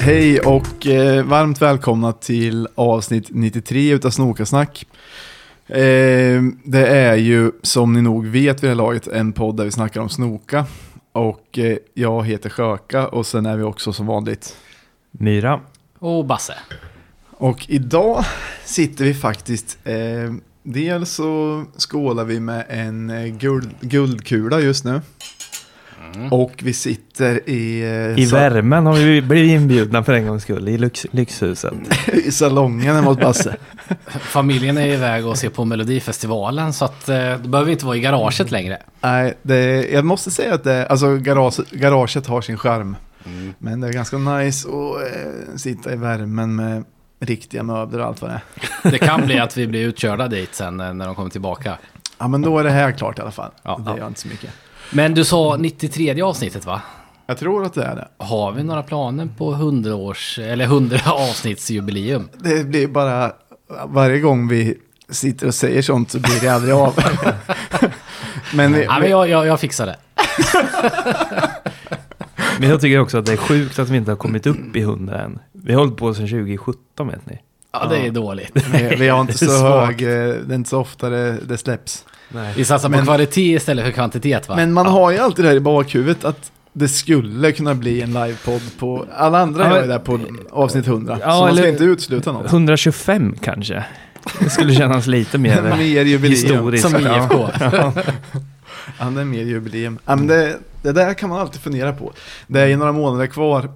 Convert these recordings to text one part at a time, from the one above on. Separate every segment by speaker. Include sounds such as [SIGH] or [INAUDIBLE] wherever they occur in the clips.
Speaker 1: Hej och eh, varmt välkomna till avsnitt 93 utav Snokasnack. Eh, det är ju, som ni nog vet vid det här laget, en podd där vi snackar om snoka. Och eh, jag heter Sjöka och sen är vi också som vanligt.
Speaker 2: Myra.
Speaker 3: Och Basse.
Speaker 1: Och idag sitter vi faktiskt, eh, dels så skålar vi med en eh, guld, guldkula just nu. Och vi sitter i, eh,
Speaker 2: I
Speaker 1: sa-
Speaker 2: värmen har vi blivit inbjudna för en gångs skull i lyx, lyxhuset.
Speaker 1: [LAUGHS] i salongen hemma hos Basse.
Speaker 3: Familjen är iväg och ser på Melodifestivalen så att eh, då behöver vi inte vara i garaget längre.
Speaker 1: Nej, det, jag måste säga att det, alltså garage, garaget har sin charm. Men det är ganska nice att eh, sitta i värmen med riktiga möbler och allt vad det är.
Speaker 3: Det kan bli att vi blir utkörda dit sen eh, när de kommer tillbaka.
Speaker 1: Ja, men då är det här klart i alla fall.
Speaker 3: Ja,
Speaker 1: det
Speaker 3: ja.
Speaker 1: gör inte så mycket.
Speaker 3: Men du sa 93 avsnittet va?
Speaker 1: Jag tror att det är det.
Speaker 3: Har vi några planer på 100 års eller 100 [LAUGHS] avsnittsjubileum?
Speaker 1: Det blir bara, varje gång vi sitter och säger sånt så blir det aldrig av. [LAUGHS] men, vi,
Speaker 3: Ja, men jag, jag, jag fixar det.
Speaker 2: Men jag tycker också att det är sjukt att vi inte har kommit upp i 100 än. Vi har hållit på sedan 2017 vet ni.
Speaker 3: Ja, det är dåligt.
Speaker 1: vi, vi har inte
Speaker 3: [LAUGHS]
Speaker 2: Det är
Speaker 1: så
Speaker 2: svagt.
Speaker 1: hög, eh, det är inte så ofta det, det släpps.
Speaker 2: Nej.
Speaker 3: Vi satsar på kvalitet istället för kvantitet va?
Speaker 1: Men man har ju alltid det här i bakhuvudet att det skulle kunna bli en livepodd på... Alla andra
Speaker 2: Ja,
Speaker 1: gör ju
Speaker 2: men-
Speaker 1: det här på avsnitt 100.
Speaker 2: Ja,
Speaker 1: så man ska
Speaker 2: eller-
Speaker 1: inte utesluta
Speaker 2: [LAUGHS]
Speaker 1: någon.
Speaker 2: 125 kanske. Det skulle kännas lite mer
Speaker 1: Mer jubileum.
Speaker 2: historiskt.
Speaker 3: Som IFK.
Speaker 1: [LAUGHS] Ja, det är mer jubileum. Ja, men det, det där kan man alltid fundera på. Det är ju några månader kvar,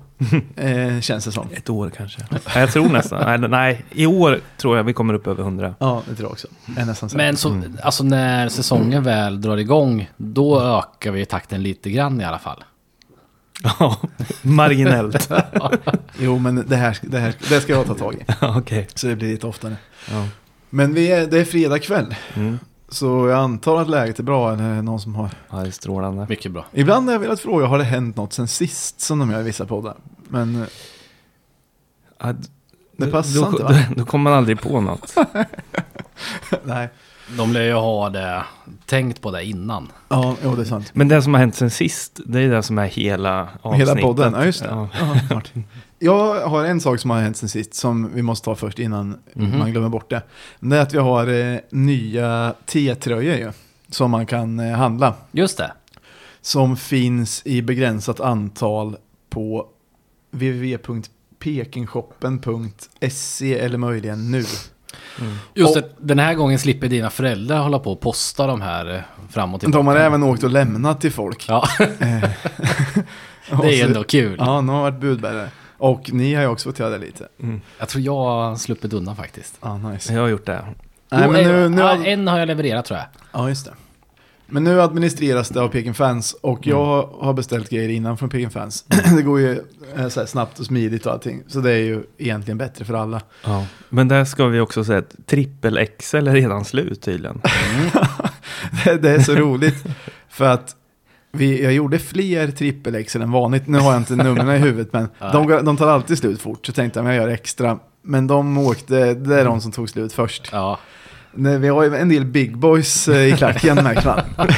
Speaker 1: eh, känns det som.
Speaker 2: Ett år kanske. Nej, jag tror nästan. Nej, nej, i år tror jag vi kommer upp över 100.
Speaker 1: Ja, det tror jag också. Det är nästan så.
Speaker 3: Men så, alltså när säsongen väl drar igång, då ökar vi takten lite grann i alla fall.
Speaker 2: Ja, marginellt.
Speaker 1: Jo, men det här, det här det ska jag ta tag i.
Speaker 2: [LAUGHS] Ja, Okej.
Speaker 1: Så det blir lite oftare.
Speaker 2: Ja.
Speaker 1: Men vi är, det är fredag kväll,
Speaker 2: Mm.
Speaker 1: så jag antar att läget är bra. Eller är det någon som har...
Speaker 2: Ja, det är strålande.
Speaker 3: Mycket bra.
Speaker 1: Ibland har jag velat fråga, har det hänt något sen sist som de gör i vissa poddar? Men eh,
Speaker 2: Ja,
Speaker 1: det
Speaker 2: då-
Speaker 1: passar
Speaker 2: då,
Speaker 1: inte va?
Speaker 2: [LAUGHS] Då kommer man aldrig på något.
Speaker 1: [LAUGHS] Nej.
Speaker 3: De lär ju ha det, tänkt på det innan.
Speaker 1: Ja, jo, det är sant.
Speaker 2: Men det som har hänt sen sist, det är det som är hela avsnittet.
Speaker 1: Hela podden, ja just det.
Speaker 2: Ja.
Speaker 1: Ja, klart. Jag har en sak som har hänt sen sist som vi måste ta först innan
Speaker 3: Mhm.
Speaker 1: man glömmer bort det. Det är att vi har eh, nya T-tröjor ju, som man kan eh, handla.
Speaker 3: Just det.
Speaker 1: Som finns i begränsat antal på www.pekingshoppen.se eller möjligen nu.
Speaker 3: Just
Speaker 1: Och-
Speaker 3: det, den här gången slipper dina föräldrar hålla på och posta de här eh, fram och tillbaka.
Speaker 1: De har även åkt och lämnat till folk.
Speaker 3: Ja, [LAUGHS]
Speaker 1: Eh. Och så-
Speaker 3: det är ändå kul.
Speaker 1: Ja, de har varit budbärare. Och ni har ju också fått göra det lite.
Speaker 3: Jag tror jag har sluppit undan faktiskt.
Speaker 1: Ja, nice.
Speaker 2: Jag har gjort det.
Speaker 1: Nej,
Speaker 3: Jo,
Speaker 1: men
Speaker 3: eh,
Speaker 1: nu, nu,
Speaker 3: ja, En har jag levererat tror jag.
Speaker 1: Ja, just det. Men nu administreras det av Peking Fans och jag
Speaker 3: Mm.
Speaker 1: har beställt grejer innan från Peking Fans. [CLEARS THROAT] det går ju eh, så här snabbt och smidigt och allting. Så det är ju egentligen bättre för alla.
Speaker 2: Ja. Men där ska vi också säga att trippel XL är redan slut tydligen.
Speaker 1: [LAUGHS] det det är så roligt. för att vi, jag gjorde fler trippel-Excel än vanligt. Nu har jag inte numren i huvudet men de, går- de tar alltid slut fort. Så tänkte jag men jag gör extra. Men de åkte, det är de som tog slut först.
Speaker 3: Ja.
Speaker 1: Nej, vi har ju en del big boys eh, i klacken märks
Speaker 2: [LAUGHS]
Speaker 1: man. [LAUGHS]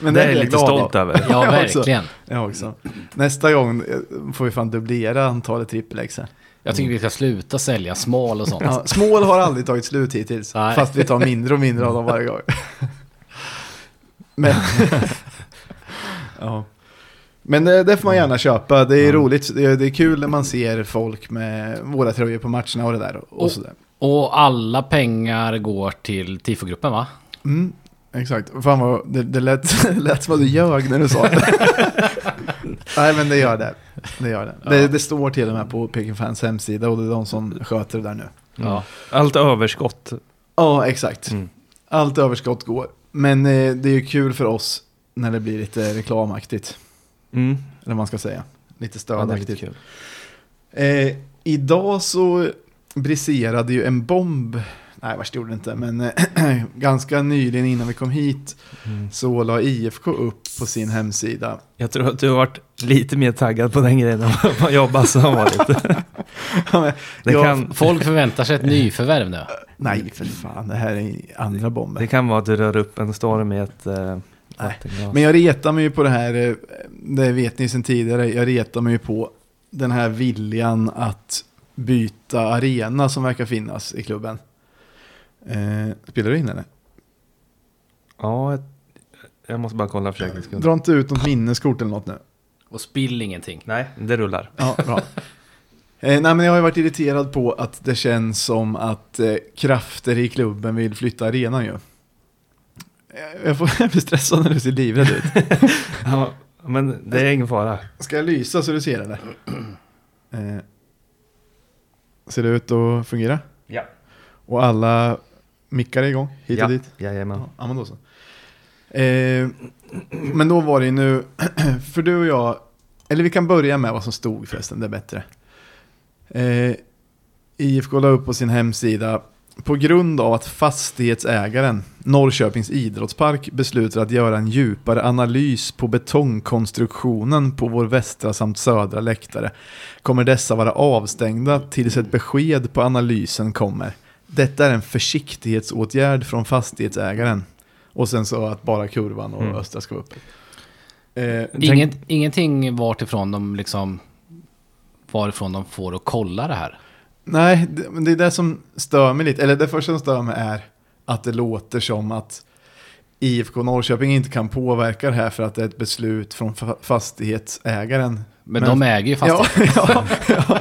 Speaker 1: Men
Speaker 2: det
Speaker 1: är
Speaker 2: är jag
Speaker 1: jag
Speaker 2: lite
Speaker 1: glad av. [LAUGHS]
Speaker 2: stolt över.
Speaker 3: Ja,
Speaker 1: Jag också.
Speaker 3: verkligen.
Speaker 1: Jag också. Nästa gång eh, får vi fan dubblera antalet trippel-exar.
Speaker 3: Jag tycker vi ska sluta sälja smal och sånt.
Speaker 1: Ja, smål har aldrig tagit slut hittills,
Speaker 3: Nej.
Speaker 1: fast vi tar mindre och mindre av dem varje gång. Men, [LAUGHS] ja. Mm. Men det, det får man gärna köpa, det är roligt, det är, det är kul när man ser folk med våra tröjor på matcherna och det där. Och, och
Speaker 3: Och-
Speaker 1: sådär.
Speaker 3: Och alla pengar går till TIFO-gruppen va?
Speaker 1: Mm, exakt, fan vad, det, det lät, [LAUGHS] det lät som att du ljög när du sa det. [LAUGHS] Nej men det gör det, det gör det. Det, det står till och med på Peking Fans hemsida och det är de som sköter det där nu.
Speaker 3: Ja.
Speaker 2: Allt överskott.
Speaker 1: Ja, exakt.
Speaker 2: Mm.
Speaker 1: Allt överskott går. Men eh, det är ju kul för oss när det blir lite reklamaktigt.
Speaker 2: Mm.
Speaker 1: Eller vad man ska säga. Lite
Speaker 2: Ja, det är lite
Speaker 1: stödaktigt.
Speaker 2: kul.
Speaker 1: eh, idag så briserade ju en bomb. Nej, värst gjorde det inte. Men eh, [CLEARS THROAT] ganska nyligen innan vi kom hit
Speaker 2: Mm.
Speaker 1: så la IFK upp på sin hemsida. [LAUGHS]
Speaker 2: Jag tror att du har varit lite mer taggad på den grejen än vad jag och
Speaker 1: [LAUGHS]
Speaker 2: Basse har varit. Det
Speaker 1: Ja,
Speaker 2: kan,
Speaker 3: Folk förväntar sig ett nyförvärv nu.
Speaker 1: Nej, för fan. Det här är andra bomben.
Speaker 2: det kan vara att du rör upp en storm i ett eh,
Speaker 1: Nej.
Speaker 2: vattenglas.
Speaker 1: Men jag retar mig ju på det här, eh, det vet ni sedan tidigare, jag retar mig ju på den här viljan att byta arena som verkar finnas i klubben. Eh, spelar du in eller?
Speaker 2: Ja, jag, jag måste bara kolla för säkerhets skull.
Speaker 1: Dra inte ut något minneskort eller något nu.
Speaker 3: Och spill ingenting.
Speaker 2: Nej, det rullar.
Speaker 1: Ja, bra. Eh, nej, men jag har ju varit irriterad på att det känns som att eh, krafter i klubben vill flytta arenan ju. Eh, Jag, får, [LAUGHS] jag blir stressad när du ser livrädd ut.
Speaker 2: Ja, men det är ingen fara.
Speaker 1: Ska jag lysa så du ser eller? Eh, ser det ut att fungera?
Speaker 2: Ja.
Speaker 1: Och alla mickar är igång, hit och
Speaker 2: ja.
Speaker 1: dit?
Speaker 2: Jajamän.
Speaker 1: Ja, ja, men då så. Eh, men då var det ju nu, [CLEARS THROAT] för du och jag, eller vi kan börja med vad som stod förresten, det är bättre. Eh, IFK la upp på sin hemsida, på grund av att fastighetsägaren Norrköpings idrottspark beslutar att göra en djupare analys på betongkonstruktionen på vår västra samt södra läktare kommer dessa vara avstängda tills ett besked på analysen kommer. Detta är en försiktighetsåtgärd från fastighetsägaren. Och sen så att bara kurvan och
Speaker 2: Mm.
Speaker 1: östra ska vara uppe. Eh,
Speaker 2: Tänk-
Speaker 3: Inget, ingenting vartifrån de liksom varifrån de får att kolla det här.
Speaker 1: nej, det, men det är det som stör mig lite. Eller det första som stör mig är att det låter som att IFK Norrköping inte kan påverka det här för att det är ett beslut från fa- fastighetsägaren.
Speaker 3: Men, de äger ju fastigheten.
Speaker 1: Ja, [LAUGHS] ja, ja.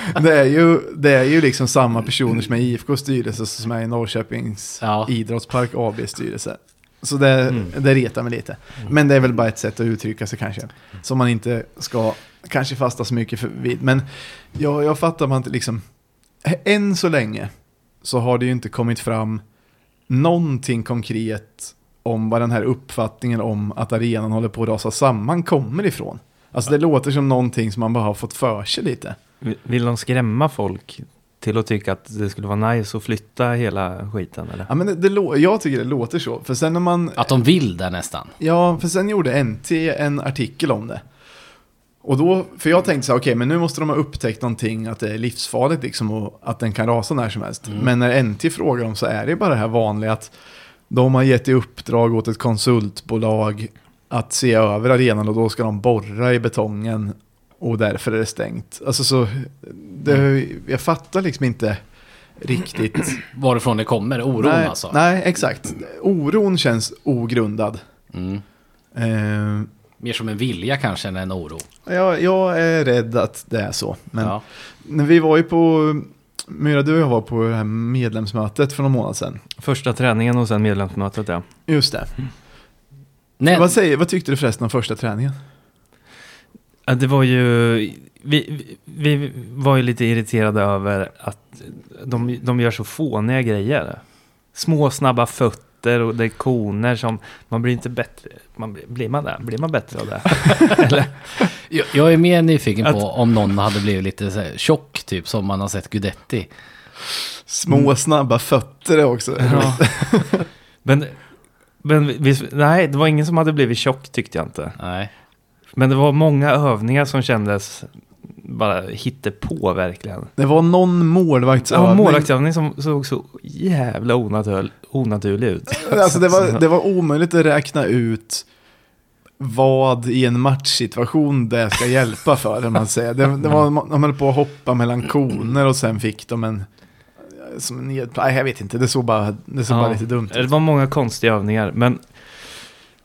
Speaker 1: [LAUGHS] Det, är ju, det är ju liksom samma personer som är i IFKs styrelse som är i Norrköpings
Speaker 3: Ja.
Speaker 1: idrottspark AB styrelse. Så det,
Speaker 2: Mm.
Speaker 1: det retar mig lite. Men det är väl bara ett sätt att uttrycka sig kanske. Som man inte ska kanske fasta så mycket för vid. Men jag, jag fattar man inte liksom. Än så länge så har det ju inte kommit fram någonting konkret om var den här uppfattningen om att arenan håller på att rasa samman kommer ifrån. Alltså det låter som någonting som man bara har fått för sig lite.
Speaker 2: Vi- Vill de skrämma folk till att tycka att det skulle vara nice att flytta hela skiten eller?
Speaker 1: Ja, men det, det, lå- jag tycker det låter så. För sen när man
Speaker 3: Att de vill det nästan.
Speaker 1: Ja, för sen gjorde NT en artikel om det. Och då, för jag tänkte så här, okej, men nu måste de ha upptäckt någonting att det är livsfarligt liksom och att den kan rasa när som helst. Men när NT frågar dem så är det bara det här vanliga att de har gett i uppdrag åt ett konsultbolag att se över arenan och då ska de borra i betongen och därför är det stängt. Alltså så, det, jag fattar liksom inte riktigt
Speaker 3: Varifrån det kommer, oron
Speaker 1: nej,
Speaker 3: alltså.
Speaker 1: Nej, exakt. Oron känns ogrundad.
Speaker 3: Mm.
Speaker 1: Eh,
Speaker 3: Mer som en vilja kanske än en oro.
Speaker 1: jag, jag är rädd att det är så. Men
Speaker 3: Ja.
Speaker 1: när vi var ju på, Myra du och jag var på det här medlemsmötet för någon månad sedan.
Speaker 2: Första träningen och sen medlemsmötet ja.
Speaker 1: Just det.
Speaker 3: Nej,
Speaker 1: Vad, säger, vad tyckte du förresten om första träningen?
Speaker 2: Ja, Det var ju, vi, vi vi var ju lite irriterade över att de, de gör så fåniga grejer. Små snabba fötter och det är koner som, man blir inte bättre, man, blir- blir man det? Blir man bättre av det?
Speaker 3: jag, jag är mer nyfiken
Speaker 2: Att-
Speaker 3: på om någon hade blivit lite så här, tjock, typ som man har sett Gudetti.
Speaker 1: Små
Speaker 3: Mm.
Speaker 1: snabba fötter är också.
Speaker 2: Ja. [LAUGHS] men, men vi, nej, det var ingen som hade blivit tjock tyckte jag inte.
Speaker 3: Nej.
Speaker 2: Men det var många övningar som kändes bara på verkligen.
Speaker 1: Det var någon
Speaker 2: Ja,
Speaker 1: målvaktsövning.
Speaker 2: målvaktsövning som såg så jävla onaturl, onaturlig ut.
Speaker 1: Alltså det, var, det var omöjligt att räkna ut vad i en matchsituation det ska hjälpa för. om Man säger. Det, det var, de höll på att hoppa mellan koner och sen fick de en... Som en ned, nej, jag vet inte, det såg bara, det såg
Speaker 2: Ja.
Speaker 1: bara lite dumt
Speaker 2: Det
Speaker 1: ut.
Speaker 2: var många konstiga övningar, men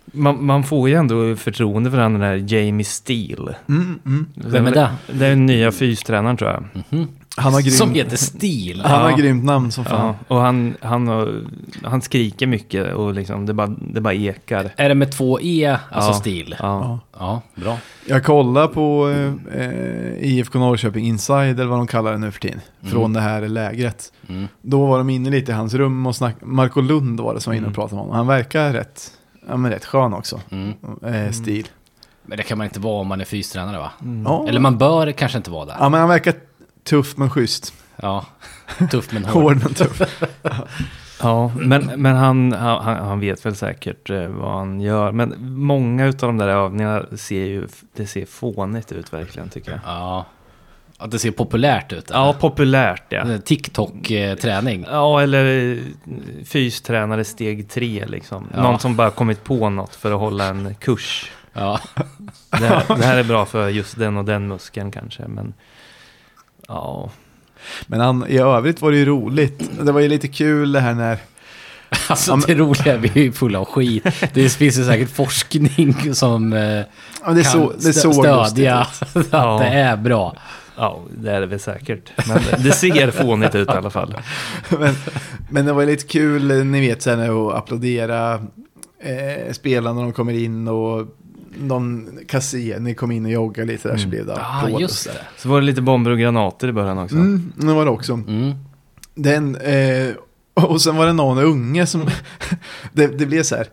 Speaker 2: man, man får ju ändå förtroende för den där Jamie Steele.
Speaker 1: Mm, mm.
Speaker 3: Vem är det?
Speaker 2: Det är den nya fystränaren tror jag.
Speaker 3: Mhm.
Speaker 1: Han har
Speaker 3: Som
Speaker 1: grymt,
Speaker 3: heter Stil.
Speaker 1: han
Speaker 2: Ja.
Speaker 1: har grymt namn som fan.
Speaker 2: Ja, och han, han, har- han skriker mycket och liksom, det, bara, det bara ekar.
Speaker 3: Är det med två E, alltså Stil? Ja.
Speaker 2: Ja.
Speaker 1: Ja.
Speaker 3: bra.
Speaker 1: Jag kollar på eh, eh, IFK Norrköping Inside, eller vad de kallar det nu för tiden,
Speaker 2: Mm.
Speaker 1: från det här lägret.
Speaker 3: Mm.
Speaker 1: Då var de inne lite i hans rum och snackade, Marco Lund var det som var inne och
Speaker 2: Mm.
Speaker 1: pratade med honom. Han verkar rätt, ja, men rätt skön också.
Speaker 3: Mm.
Speaker 1: Eh, stil.
Speaker 3: Men det kan man inte vara om man är fystränare va?
Speaker 2: Mm.
Speaker 1: Ja.
Speaker 3: Eller man bör kanske inte vara där.
Speaker 1: ja, men han verkar tuff men schysst.
Speaker 3: [LAUGHS] Ja. Tuff men hård.
Speaker 1: Hård men tuff.
Speaker 2: Ja, men, men han, han, han han vet väl säkert eh, vad han gör. Men många av de där övningarna ser ju, det ser fånigt ut verkligen tycker jag.
Speaker 3: Ja. Att det ser populärt ut. eller?
Speaker 2: Ja, populärt ja.
Speaker 3: Eh, TikTok-träning.
Speaker 2: Ja, eller eh, fystränare steg tre liksom.
Speaker 3: Ja.
Speaker 2: Någon som bara kommit på något för att hålla en kurs.
Speaker 3: Ja. [LAUGHS]
Speaker 2: Det här, det här är bra för just den och den muskeln kanske, men ja.
Speaker 1: Men han, i övrigt var det ju roligt. Det var ju lite kul det här när...
Speaker 3: Alltså det roliga är vi är ju fulla av skit. Det finns ju säkert forskning som eh,
Speaker 1: Ja, det, så,
Speaker 3: kan
Speaker 1: det
Speaker 3: stö-
Speaker 1: såg lustigt
Speaker 3: stödja [LAUGHS]
Speaker 1: ut.
Speaker 3: att
Speaker 2: Ja.
Speaker 3: det är bra.
Speaker 2: Ja, det är det väl säkert. Men det- det ser fånigt ut i alla fall.
Speaker 1: men, men det var ju lite kul, eh, ni vet, sen att applådera eh, spelarna när de kommer in och någon Cassini kom in och joggade lite där så
Speaker 2: Mm.
Speaker 1: blev det
Speaker 3: Ja,
Speaker 1: applåd.
Speaker 3: just det.
Speaker 2: Så var det lite bomber och granater i början också.
Speaker 1: Mm, det var det också.
Speaker 3: Mm.
Speaker 1: Den, eh, och sen var det någon unge som... [LAUGHS] det, det blev så här...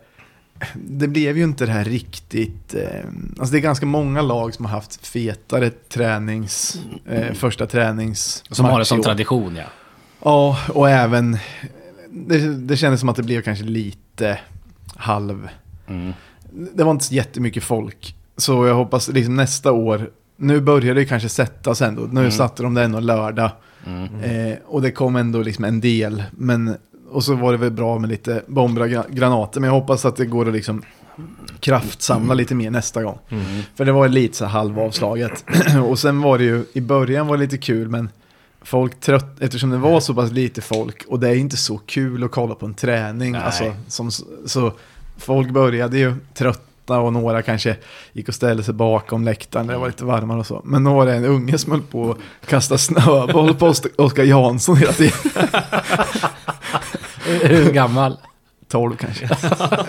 Speaker 1: Det blev ju inte det här riktigt... Eh, alltså det är ganska många lag som har haft fetare tränings... Eh, första tränings...
Speaker 3: Som har det
Speaker 1: match i
Speaker 3: som
Speaker 1: år.
Speaker 3: tradition ja.
Speaker 1: Ja, och även... Det, det kändes som att det blev kanske lite halv...
Speaker 3: Mm.
Speaker 1: Det var inte så jättemycket folk. Så jag hoppas liksom nästa år... Nu började det kanske sättas ändå. Nu
Speaker 3: Mm.
Speaker 1: satte de det ändå lördag.
Speaker 3: Mm.
Speaker 1: Eh, och det kom ändå liksom en del. Men, och så var det väl bra med lite bomber och gra- granater. Men jag hoppas att det går att liksom kraftsamla lite mer nästa gång.
Speaker 2: Mm.
Speaker 1: För det var lite så här halvavslaget. [CLEARS THROAT] och sen var det ju, i början var det lite kul men folk trött, eftersom det var så pass lite folk och det är inte så kul att kolla på en träning.
Speaker 3: Nej.
Speaker 1: Alltså, som, så folk började ju trötta och några kanske gick och ställde sig bakom läktaren där det var lite varmare och så. Men då var det en unge som höll på att kasta snöboll på Ost- Oskar Jansson hela tiden. [LAUGHS]
Speaker 3: Hur gammal?
Speaker 1: 12
Speaker 3: [LAUGHS]
Speaker 1: kanske.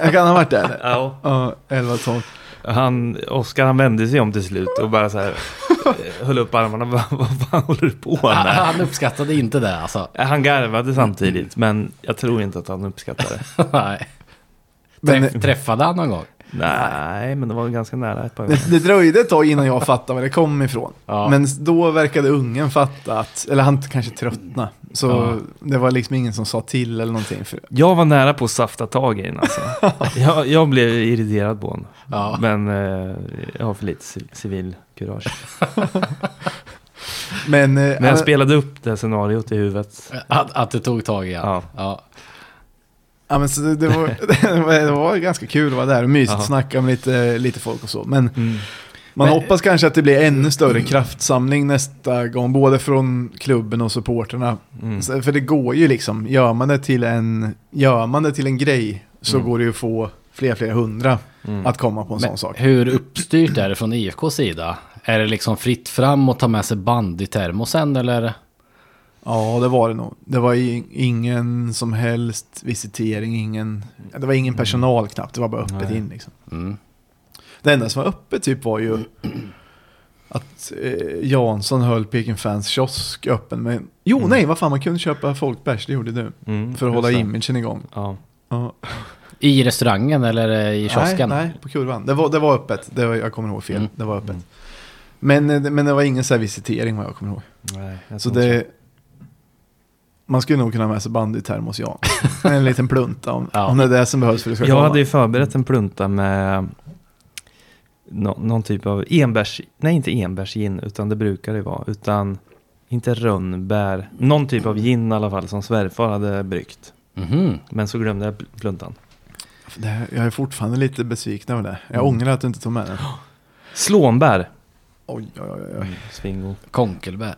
Speaker 1: Jag kan ha varit där. eller?
Speaker 2: Ja.
Speaker 1: Ja, 11-12.
Speaker 2: Han, Oskar han vände sig om till slut och bara så här eh, höll upp armarna. [LAUGHS] Vad, vad fan håller du på med?
Speaker 3: [LAUGHS]
Speaker 2: Eh,
Speaker 3: Han uppskattade inte det alltså. [LAUGHS]
Speaker 2: Han garvade samtidigt, men jag tror inte att
Speaker 1: [LAUGHS]
Speaker 2: han uppskattade det.
Speaker 3: Nej.
Speaker 1: Men-
Speaker 3: Träff- Träffade han någon gång?
Speaker 2: Nej, men det var ganska nära ett par gånger.
Speaker 1: Det, det dröjde ett tag innan jag fattade var det kom ifrån.
Speaker 3: Ja.
Speaker 1: Men då verkade ungen fatta att, eller han kanske tröttna. Så
Speaker 3: Ja.
Speaker 1: det var liksom ingen som sa till eller någonting. För,
Speaker 2: Jag var nära på att safta tag i
Speaker 1: [LAUGHS]
Speaker 2: den alltså. jag, jag blev irriterad på honom.
Speaker 3: Ja.
Speaker 2: Men eh, jag har för lite ci- civil
Speaker 1: [LAUGHS]
Speaker 2: kurage.
Speaker 1: men, eh,
Speaker 2: Men jag
Speaker 1: han-
Speaker 2: spelade upp det scenariot i huvudet.
Speaker 3: Att, att det tog tag i han.
Speaker 2: Ja.
Speaker 3: Ja.
Speaker 1: ja, men, så det, det, var, [LAUGHS] det, var, det var ganska kul att vara där och mysigt
Speaker 2: Jaha.
Speaker 1: att snacka med lite, lite folk och så. Men
Speaker 2: Mm.
Speaker 1: man
Speaker 3: Men-
Speaker 1: hoppas kanske att det blir ännu större kraftsamling nästa gång. Både från klubben och supporterna.
Speaker 2: Mm.
Speaker 1: Så- För det går ju liksom, gör man det till en, gör man det till en grej så
Speaker 2: Mm.
Speaker 1: går det ju att få fler, fler hundra
Speaker 2: Mm.
Speaker 1: att komma på en sån
Speaker 3: Men
Speaker 1: sak.
Speaker 3: hur uppstyrt är det från IFKs sida? Är det liksom fritt fram att ta med sig band i termosen eller?
Speaker 1: Ja, det var det nog. Det var i- ingen som helst visitering, ingen, det var ingen personal knappt, det var bara öppet
Speaker 2: Mm. Nej.
Speaker 1: in. Liksom.
Speaker 3: Mm.
Speaker 1: Det enda som var öppet typ var ju att eh, Jansson höll Peking Fans kiosk öppen. Men, jo,
Speaker 2: Mm.
Speaker 1: nej, vad fan, man kunde köpa folkbärs, det gjorde du.
Speaker 2: Mm,
Speaker 1: För att
Speaker 2: just
Speaker 1: hålla
Speaker 2: det.
Speaker 1: imagen igång.
Speaker 2: Ja.
Speaker 1: Ja.
Speaker 3: I restaurangen eller eh, i kiosken?
Speaker 1: Nej, nej, på kurvan. Det var, det var öppet, det var, jag kommer ihåg fel.
Speaker 3: Mm.
Speaker 1: Det var öppet.
Speaker 2: Mm.
Speaker 1: Men, eh, det- men det var ingen så här visitering vad jag kommer ihåg.
Speaker 2: Nej, jag
Speaker 1: Så
Speaker 2: tror inte
Speaker 1: det... Man skulle nog kunna ha med sig band i termos, ja. En liten plunta om,
Speaker 3: Ja.
Speaker 1: om det är det som behövs för att det ska
Speaker 2: Jag
Speaker 1: komma.
Speaker 2: hade ju förberett en plunta med nå- någon typ av enbärs, nej inte enbärsgin, utan det brukar det vara, utan inte rönnbär, någon typ av gin i alla fall som svärfar hade bryggt.
Speaker 3: Mhm.
Speaker 2: Men så glömde jag pl- pluntan.
Speaker 1: det här, jag är fortfarande lite besviken över det. Jag
Speaker 2: Mm.
Speaker 1: ångrar att du inte tog med den.
Speaker 2: Slånbär,
Speaker 1: Oj, oj, oj, oj.
Speaker 2: svingo.
Speaker 3: Konkelbär.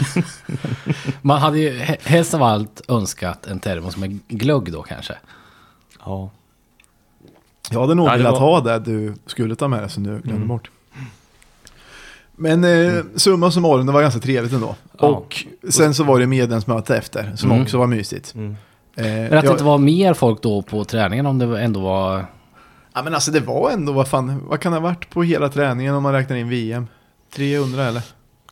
Speaker 3: [LAUGHS] Man hade ju he- helst av allt önskat en termos med glögg då kanske.
Speaker 2: Ja.
Speaker 1: Jag hade nog
Speaker 2: Ja, det
Speaker 1: velat
Speaker 2: var-
Speaker 1: ha det du skulle ta med dig som du glömde
Speaker 2: Mm.
Speaker 1: bort. Men eh, summa summarum, det var ganska trevligt ändå.
Speaker 2: Ja.
Speaker 1: Och sen så var det medlemsmöte efter, som
Speaker 3: Mm.
Speaker 1: också var mysigt.
Speaker 2: Mm.
Speaker 1: Eh,
Speaker 3: Men att det
Speaker 1: jag-
Speaker 3: inte var mer folk då på träningen om det ändå var...
Speaker 1: Ja men alltså det var ändå, vad fan, vad kan det ha varit på hela träningen om man räknar in VM? 300 eller?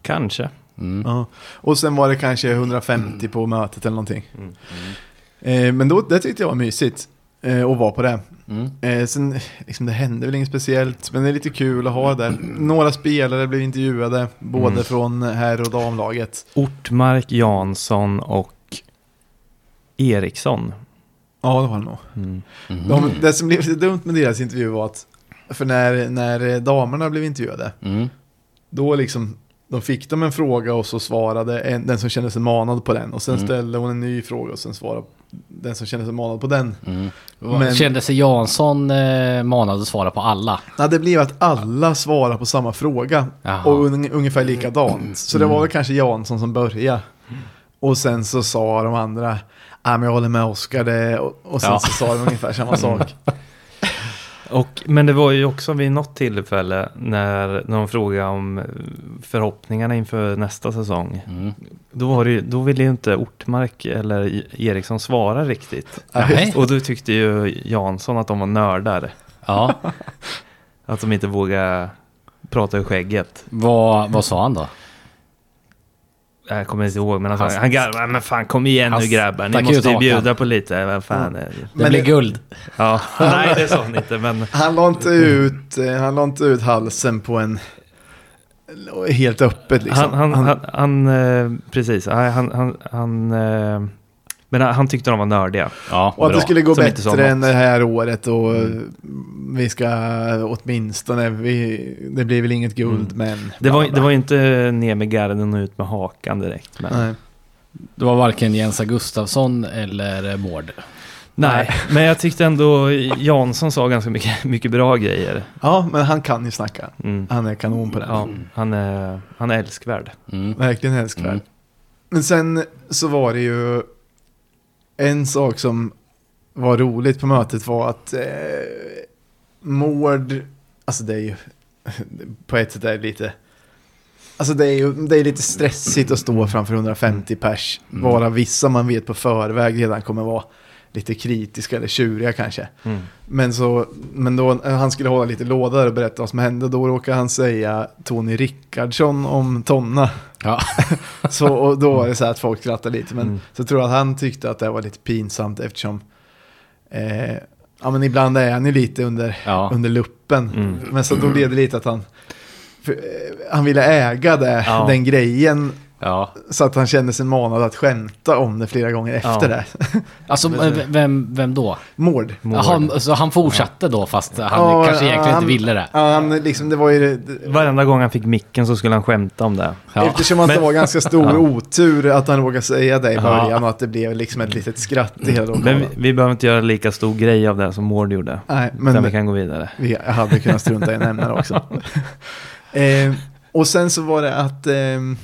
Speaker 2: Kanske.
Speaker 3: Mm.
Speaker 1: Ja. Och sen var det kanske 150 på mötet eller någonting.
Speaker 2: Mm.
Speaker 1: Eh, men då, det tyckte jag var mysigt eh, att vara på det.
Speaker 3: Mm.
Speaker 1: Eh, sen, liksom, det hände väl inget speciellt, men det är lite kul att ha det. Några spelare blev intervjuade, både
Speaker 2: Mm.
Speaker 1: från herr och damlaget.
Speaker 2: Ortmark, Jansson och Eriksson.
Speaker 1: Ja, det var det nog.
Speaker 2: Mm.
Speaker 3: Mhm.
Speaker 1: De, det som blev lite dumt med deras intervju var att, för när, när damerna blev intervjuade,
Speaker 3: Mm.
Speaker 1: då liksom, då fick de en fråga och så svarade en, den som kände sig manad på den. Och sen
Speaker 3: Mm.
Speaker 1: ställde hon en ny fråga och sen svarade den som känner sig manad på den.
Speaker 3: Mm.
Speaker 1: Men-
Speaker 3: Kände sig Jansson eh, manad att svara på alla?
Speaker 1: Nej, det blev att alla svarar på samma fråga
Speaker 3: Jaha.
Speaker 1: och un, ungefär
Speaker 2: Mm.
Speaker 1: likadant. Så det var väl kanske Jansson som började. Och sen så sa de andra, "Nej, men jag håller med Oskar det. Och, och sen
Speaker 3: Ja.
Speaker 1: så sa de ungefär
Speaker 2: [LAUGHS]
Speaker 1: samma sak.
Speaker 2: Och, men det var ju också vid något tillfälle när, när de frågade om eh, förhoppningarna inför nästa säsong.
Speaker 3: Mm.
Speaker 2: Då, var det ju, då ville ju inte Ortmark eller I- Eriksson svara riktigt.
Speaker 3: Nej.
Speaker 2: Och då tyckte ju Jansson att de var nördar.
Speaker 3: Ja.
Speaker 2: Att de inte vågade prata ur skägget.
Speaker 3: vad, vad sa han då?
Speaker 2: Jag kommer inte ihåg, men han,
Speaker 3: Han-
Speaker 2: han, han garvade. Men fan, kom igen
Speaker 3: han
Speaker 2: nu grabbar. Ni
Speaker 3: stack ut
Speaker 2: måste ju
Speaker 3: hakan.
Speaker 2: bjuda på lite. Vad fan är det?
Speaker 3: Det
Speaker 1: Men
Speaker 3: blir
Speaker 1: det-
Speaker 3: guld.
Speaker 2: Ja, nej det sa han inte, men
Speaker 1: Han la inte
Speaker 2: Mm.
Speaker 1: ut, eh, han la inte ut halsen på en helt öppet liksom.
Speaker 2: han, han, han, han, eh, precis, Nej, han, han, han, eh, men han, han tyckte de var nördiga.
Speaker 3: Ja,
Speaker 1: och att det
Speaker 3: bra.
Speaker 1: skulle gå
Speaker 2: som inte sa
Speaker 1: bättre
Speaker 2: något. Mm.
Speaker 1: än det här året och eh, vi ska åtminstone, vi, det blir väl inget guld men...
Speaker 2: Mm. Det var, det var ju inte ner med garden och ut med hakan direkt. Men, nej.
Speaker 1: Nej.
Speaker 3: Det var varken Jens Gustafsson eller Mård.
Speaker 2: [LAUGHS] men jag tyckte ändå Jansson sa ganska mycket, mycket bra grejer.
Speaker 1: Ja, men han kan ju snacka.
Speaker 2: Mm.
Speaker 1: Han är kanon på det.
Speaker 2: Ja, han, är, han är älskvärd.
Speaker 3: Mm.
Speaker 1: Verkligen älskvärd.
Speaker 3: Mm.
Speaker 1: Men sen så var det ju en sak som var roligt på mötet var att eh, Mård, alltså det är ju [LAUGHS] på ett sätt är det lite, alltså det är ju det är lite stressigt att stå framför 150 pers,
Speaker 3: Mm.
Speaker 1: vara vissa man vet på förväg redan kommer vara lite kritiska eller tjuriga kanske.
Speaker 2: Mm.
Speaker 1: Men, så, men då eh, han skulle hålla lite låda där och berätta vad som hände, då råkade han säga Tony Rickardsson om Tonna.
Speaker 3: Ja.
Speaker 1: [LAUGHS] Så och då var det så här att folk skrattade lite. Men
Speaker 2: Mm.
Speaker 1: så tror jag att han tyckte att det var lite pinsamt eftersom... Eh, ja men ibland är han ju lite under,
Speaker 3: Ja.
Speaker 1: under luppen.
Speaker 2: Mm.
Speaker 1: Men så då blev det lite att han... För, eh, han ville äga det,
Speaker 2: Ja.
Speaker 1: den grejen.
Speaker 3: ja.
Speaker 1: Så att han kände sig manad att skämta om det flera gånger efter
Speaker 2: Ja.
Speaker 1: det. [LAUGHS]
Speaker 3: Alltså, eh, v- vem, vem då?
Speaker 1: Mord.
Speaker 2: Mård.
Speaker 3: Jaha, så han fortsatte då fast han
Speaker 1: Ja,
Speaker 3: kanske egentligen
Speaker 1: han-
Speaker 3: inte ville det?
Speaker 1: Ja, han liksom, det var ju... det-
Speaker 2: Varenda gång han fick micken så skulle han skämta om det.
Speaker 3: Ja.
Speaker 1: Eftersom att det var ganska stor
Speaker 2: Ja.
Speaker 1: otur att han råkade säga det i
Speaker 2: Ja.
Speaker 1: början och att det blev liksom ett litet skratt i hela
Speaker 2: Men
Speaker 1: lokalen.
Speaker 2: vi, vi behöver inte göra lika stor grej av det som Mård gjorde.
Speaker 1: Nej,
Speaker 2: Utan
Speaker 1: men
Speaker 2: vi kan gå vidare.
Speaker 1: Vi hade kunnat strunta i en ämnare också.
Speaker 2: [LAUGHS]
Speaker 1: eh, och sen så var det att... ehm,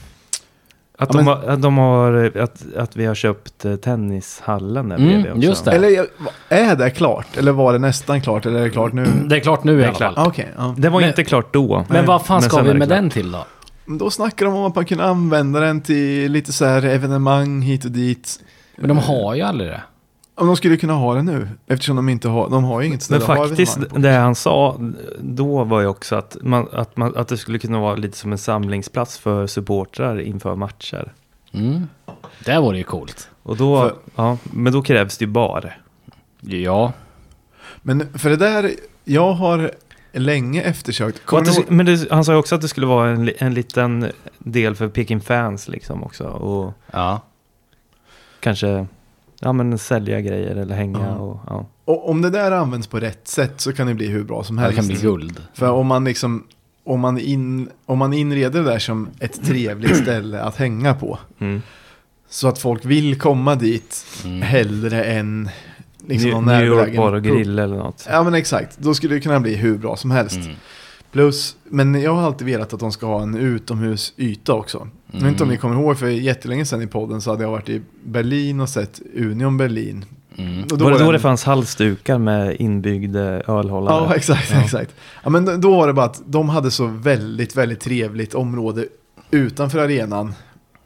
Speaker 2: Att,
Speaker 1: Ja,
Speaker 2: de,
Speaker 1: men-
Speaker 2: har, att, de har, att, att vi har köpt eh, tennishallen där
Speaker 3: Mm,
Speaker 2: bredvid också.
Speaker 3: just det.
Speaker 1: eller jag- är det klart? Eller var det nästan klart? Eller är det klart nu?
Speaker 2: [CLEARS THROAT]
Speaker 3: Det är klart nu i
Speaker 2: Det är
Speaker 3: alla fall.
Speaker 2: klart.
Speaker 1: Ah, Okej, ja.
Speaker 2: Det var
Speaker 3: Men-
Speaker 2: inte klart då.
Speaker 1: Nej,
Speaker 3: Men vad fan
Speaker 2: men
Speaker 3: ska
Speaker 2: sen
Speaker 3: vi
Speaker 2: är det
Speaker 3: med
Speaker 2: klart.
Speaker 3: den till då?
Speaker 1: Men Då snackar de om att man kunde använda den till lite så här evenemang hit och dit.
Speaker 3: Men de har ju aldrig det.
Speaker 1: Om de skulle kunna ha det nu, eftersom de inte har, de har ju inget
Speaker 2: Men
Speaker 1: ställe att ha
Speaker 2: faktiskt,
Speaker 1: evenemang på.
Speaker 2: det han sa då var ju också att, man, att, man, att det skulle kunna vara lite som en samlingsplats för supportrar inför matcher.
Speaker 3: Mm. Det vore ju coolt.
Speaker 2: Och då,
Speaker 1: För-
Speaker 2: ja, men då krävs det ju bar.
Speaker 3: Ja.
Speaker 1: Men för det där, jag har länge eftersökt.
Speaker 2: Och
Speaker 1: Kommer
Speaker 2: att
Speaker 1: ni
Speaker 2: det,
Speaker 1: ihåg-
Speaker 2: men det, han sa ju också att det skulle vara en, li- en liten del för Peking fans liksom också. Och
Speaker 3: Ja.
Speaker 2: kanske ja, men sälja grejer eller hänga.
Speaker 1: Ja.
Speaker 2: Och, ja.
Speaker 1: Och om det där används på rätt sätt så kan det bli hur bra som
Speaker 3: Det
Speaker 1: helst.
Speaker 3: kan bli guld.
Speaker 1: För om man liksom, om man, in, om man inreder det där som ett trevligt ställe att hänga på.
Speaker 2: Mm.
Speaker 1: Så att folk vill komma dit
Speaker 3: Mm.
Speaker 1: hellre än liksom någon
Speaker 2: New, New York
Speaker 1: närbelägen
Speaker 2: bar och
Speaker 1: pub.
Speaker 2: grill eller något.
Speaker 1: Ja men exakt, då skulle det kunna bli hur bra som helst.
Speaker 3: Mm.
Speaker 1: Plus, men jag har alltid velat att de ska ha en utomhusyta också. Jag vet inte
Speaker 2: Mm.
Speaker 1: om ni kommer ihåg, för jättelänge sedan i podden så hade jag varit i Berlin och sett Union Berlin.
Speaker 3: Mm.
Speaker 1: Och
Speaker 2: var det då
Speaker 1: en-
Speaker 2: det fanns halsdukar med inbyggd eh, ölhållare?
Speaker 1: Ja, exakt, exakt. Ja, men då- då var det bara att de hade så väldigt, väldigt trevligt område utanför arenan.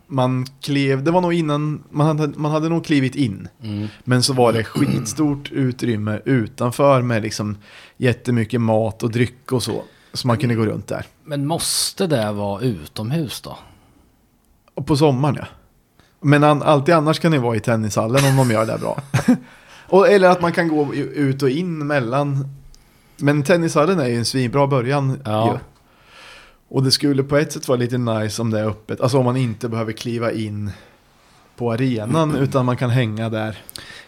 Speaker 1: Man klev, det var nog innan, man hade, man hade nog klivit in.
Speaker 3: Mm.
Speaker 1: Men så var det skitstort utrymme utanför med liksom jättemycket mat och dryck och så. Så man kunde gå runt där.
Speaker 3: Men måste det vara utomhus då?
Speaker 1: Och på sommaren ja. Men an, alltid annars kan det vara i tennishallen om de gör det bra. och, eller att man kan gå ju- ut och in mellan. Men tennishallen är ju en svinbra början.
Speaker 3: Ja.
Speaker 1: Ju. Och det skulle på ett sätt vara lite nice om det är öppet. Alltså om man inte behöver kliva in på arenan utan man kan hänga där.